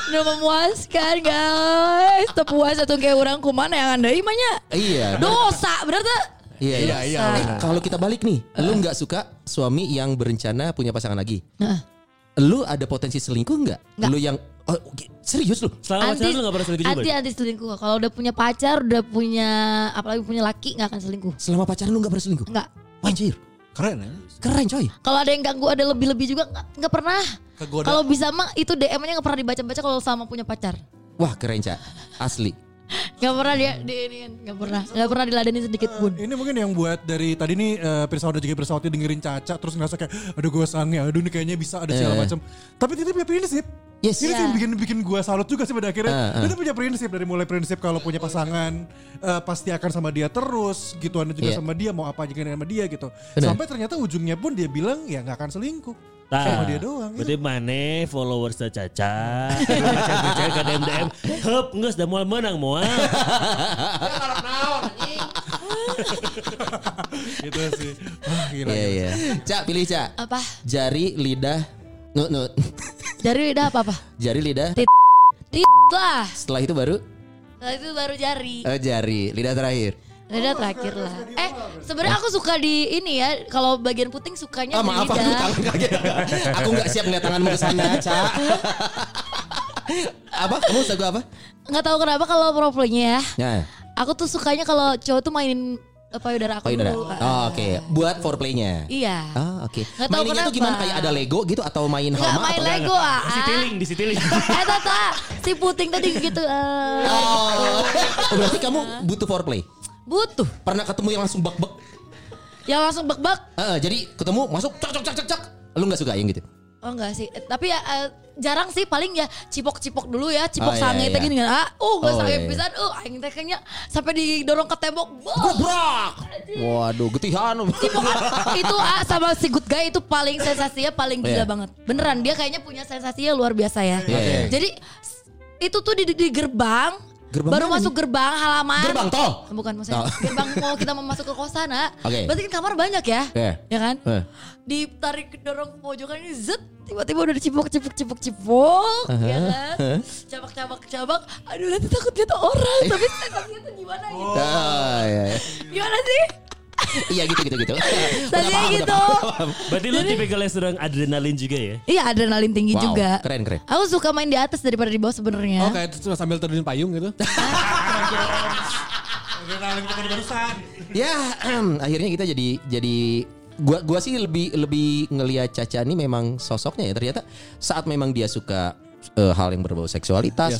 S6: udah memuaskan guys tepuas atau kayak orang kumana yang anda imanya
S4: Iya.
S6: dosa bener tuh
S4: Iya, iya.
S3: iya.
S4: Eh, kalau kita balik nih, lu nggak suka suami yang berencana punya pasangan lagi. Lu ada potensi selingkuh nggak? Lu yang oh, oke, serius lu?
S2: Selama pacaran lu gak pernah selingkuh juga.
S6: anti anti selingkuh kalau udah punya pacar udah punya apalagi punya laki nggak akan selingkuh
S4: Selama pacaran lu nggak pernah selingkuh?
S6: nggak
S4: Anjir,
S5: Keren ya.
S4: Iya. keren coy.
S6: Kalau ada yang ganggu ada lebih-lebih juga nggak- nggak pernah.
S5: Kegoda.
S6: Kalau bisa mah itu DM-nya nggak pernah dibaca-baca kalau sama punya pacar.
S4: Wah, keren, Cak. Asli.
S6: Nggak pernah dia di iniin, nggak pernah, nggak pernah diladenin sedikit pun.
S4: Eh,
S5: Ini mungkin yang buat dari tadi nih eh Pirsa udah juga Pirsawati dengerin Caca terus ngerasa kayak aduh gue sange, aduh ini kayaknya bisa ada segala macam. Tapi Titi punya prinsip.
S4: Eh. Yes.
S5: Ini tuh yang
S6: Iya.
S5: bikin bikin gue salut juga sih pada akhirnya.
S4: Ah, ah.
S5: Titi punya prinsip dari mulai prinsip kalau punya pasangan eh, pasti akan sama dia terus gitu Anda juga
S4: Iya.
S5: sama dia mau apa aja dengan sama dia gitu.
S4: Benar.
S5: Sampai ternyata ujungnya pun dia bilang ya nggak akan selingkuh.
S2: Nah,
S5: Sama dia doang. iya.
S2: Berarti mana followers Caca. Caca ke DM DM. Hep, nggak sudah mau menang mau.
S5: gitu sih. Wah, gila.
S4: Iya,
S5: gila.
S4: iya. Cak, pilih, Cak.
S6: Apa?
S4: Jari, lidah, nu, nu.
S6: Dari lidah apa apa?
S4: Jari, lidah.
S6: Tit. Tit lah.
S4: Setelah itu baru
S6: Setelah itu baru jari.
S4: Eh, jari, lidah terakhir.
S6: Lidah terakhir lah. Eh, sebenarnya aku suka di ini ya. Kalau bagian puting sukanya
S4: Ah,
S6: di
S4: maaf aku
S6: Iya, lidah.
S4: tangan kaget. aku nggak siap ngeliat tanganmu ke sana, Ca. apa? Kamu suka apa?
S6: Nggak tahu kenapa kalau problemnya ya.
S4: Ya,
S6: Aku tuh sukanya kalau cowok tuh mainin eh, payudara aku
S4: payudara.
S6: dulu.
S4: Oh, oke. Buat foreplaynya.
S6: eh. Iya.
S4: Ah, oke.
S6: Nggak tahu
S4: Mainnya tuh
S6: kenapa.
S4: gimana? Kayak ada Lego gitu atau main
S6: Nggak
S4: hama
S6: main
S4: atau
S6: Lego ah.
S2: Disitiling, disitiling.
S6: Eh tata, si puting tadi gitu. eh,
S4: Oh, berarti kamu butuh foreplay.
S6: butuh.
S4: Pernah ketemu yang langsung bek-bek?
S6: Yang langsung bek-bek.
S4: Eh, jadi ketemu masuk cak cak cak cak cak. Lu nggak suka yang gitu?
S6: Oh enggak sih. Eh, Tapi ya eh, jarang sih paling ya cipok-cipok dulu
S4: Oh,
S6: ya. Cipok
S4: iya,
S6: sange
S4: iya.
S6: teh gini kan. Ah, uh gue
S4: Oh,
S6: sange
S4: iya, iya.
S6: pisan. Uh aing teh kayaknya sampai didorong ke tembok. Wah,
S4: Gobrak. Waduh, getihan.
S6: itu ah, sama si good guy itu paling sensasinya paling
S4: Iya.
S6: gila banget. Beneran dia kayaknya punya sensasinya luar biasa ya.
S4: Iya, iya.
S6: Jadi s- itu tuh di, di- di gerbang,
S4: Gerbang
S6: baru
S4: mana
S6: masuk gerbang halaman.
S4: Gerbang tol.
S6: Oh, Bukan maksudnya
S4: Tol.
S6: gerbang mau kita mau masuk ke kosan, nak.
S4: Oke.
S6: Berarti kan kamar banyak ya?
S4: Iya.
S6: Ya kan?
S4: Iya.
S6: Ditarik dorong ke pojokan ini zet tiba-tiba udah dicipok cipok cipok cipok ya kan? Cabak cabak cabak. Aduh nanti takut dia tuh orang,
S4: Iya.
S6: tapi sensasinya tuh gimana gitu.
S4: Ah, iya, iya.
S6: Gimana sih?
S4: Iya gitu gitu gitu. Udah
S6: Tadinya
S4: paham, udah
S6: gitu.
S4: paham, udah paham.
S2: Berarti lu tipikalnya sedang adrenalin juga ya?
S6: Iya adrenalin tinggi
S4: Wow,
S6: juga.
S4: keren, keren.
S6: Aku suka main di atas daripada di bawah sebenarnya.
S3: Oh kayak itu sambil terjun payung gitu.
S5: iya.
S4: Ya, akhirnya kita jadi jadi gua gua sih lebih lebih ngelihat Caca ini memang sosoknya ya ternyata saat memang dia suka eh, hal yang berbau seksualitas,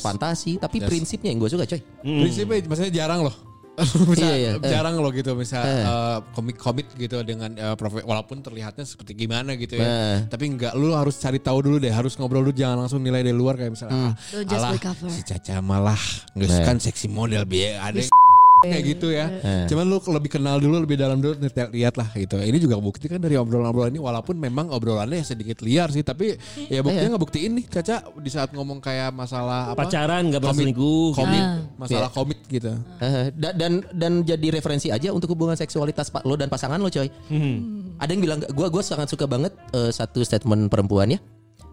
S3: Yes.
S4: fantasi, tapi
S3: Yes.
S4: prinsipnya yang gue suka coy.
S3: Prinsipnya maksudnya jarang loh. bisa,
S4: Iya, iya. Eh.
S3: jarang loh gitu bisa
S4: Eh.
S3: eh, komit-komit gitu dengan eh, profe- walaupun terlihatnya seperti gimana gitu ya.
S4: Eh.
S3: Tapi enggak lu harus cari tahu dulu deh, harus ngobrol dulu jangan langsung nilai dari luar kayak misalnya ah,
S6: Don't just
S3: alah,
S6: be cover."
S3: si Caca malah nggak
S4: Hmm. Eh.
S3: kan seksi model biar ada yang kayak gitu ya.
S4: Eh.
S3: Cuman lu lebih kenal dulu lebih dalam dulu nih, lihat lah gitu. Ini juga bukti kan dari obrolan-obrolan ini walaupun memang obrolannya sedikit liar sih tapi
S4: Eh,
S3: ya
S4: iya.
S3: buktinya ngebuktiin nih Caca di saat ngomong kayak masalah apa?
S2: Pacaran nggak pernah
S3: Komit-
S2: selingkuh.
S3: komit
S6: Ah.
S3: masalah komit gitu
S4: Eh, da- dan dan jadi referensi aja untuk hubungan seksualitas pak lo dan pasangan lo coy.
S3: Hmm.
S4: Ada yang bilang gue gue sangat suka banget eh, satu statement perempuan ya.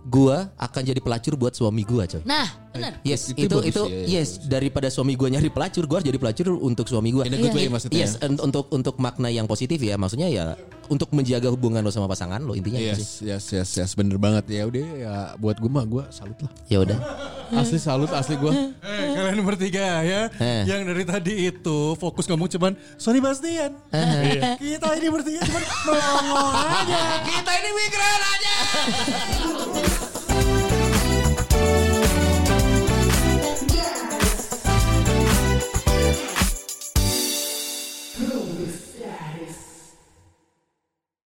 S4: Gue akan jadi pelacur buat suami gue coy.
S6: Nah, benar.
S4: Yes,
S3: Itu
S4: itu itu,
S3: bagus ya, ya,
S4: yes daripada suami gue nyari pelacur, gue harus jadi pelacur untuk suami gue.
S3: In a good way maksudnya. ya?
S4: Yes, un- untuk untuk makna yang positif ya, maksudnya ya untuk menjaga hubungan lo sama pasangan lo intinya itu sih.
S3: Yes, yes, yes, yes, bener banget ya udah ya buat gue mah gue salut lah.
S4: Ya udah.
S3: Asli salut, asli gue.
S5: Eh, kalian bertiga ya
S4: Eh.
S5: yang dari tadi itu fokus ngomong cuman sorry Bastian kita ini bertiga cuman melongo aja kita ini migran aja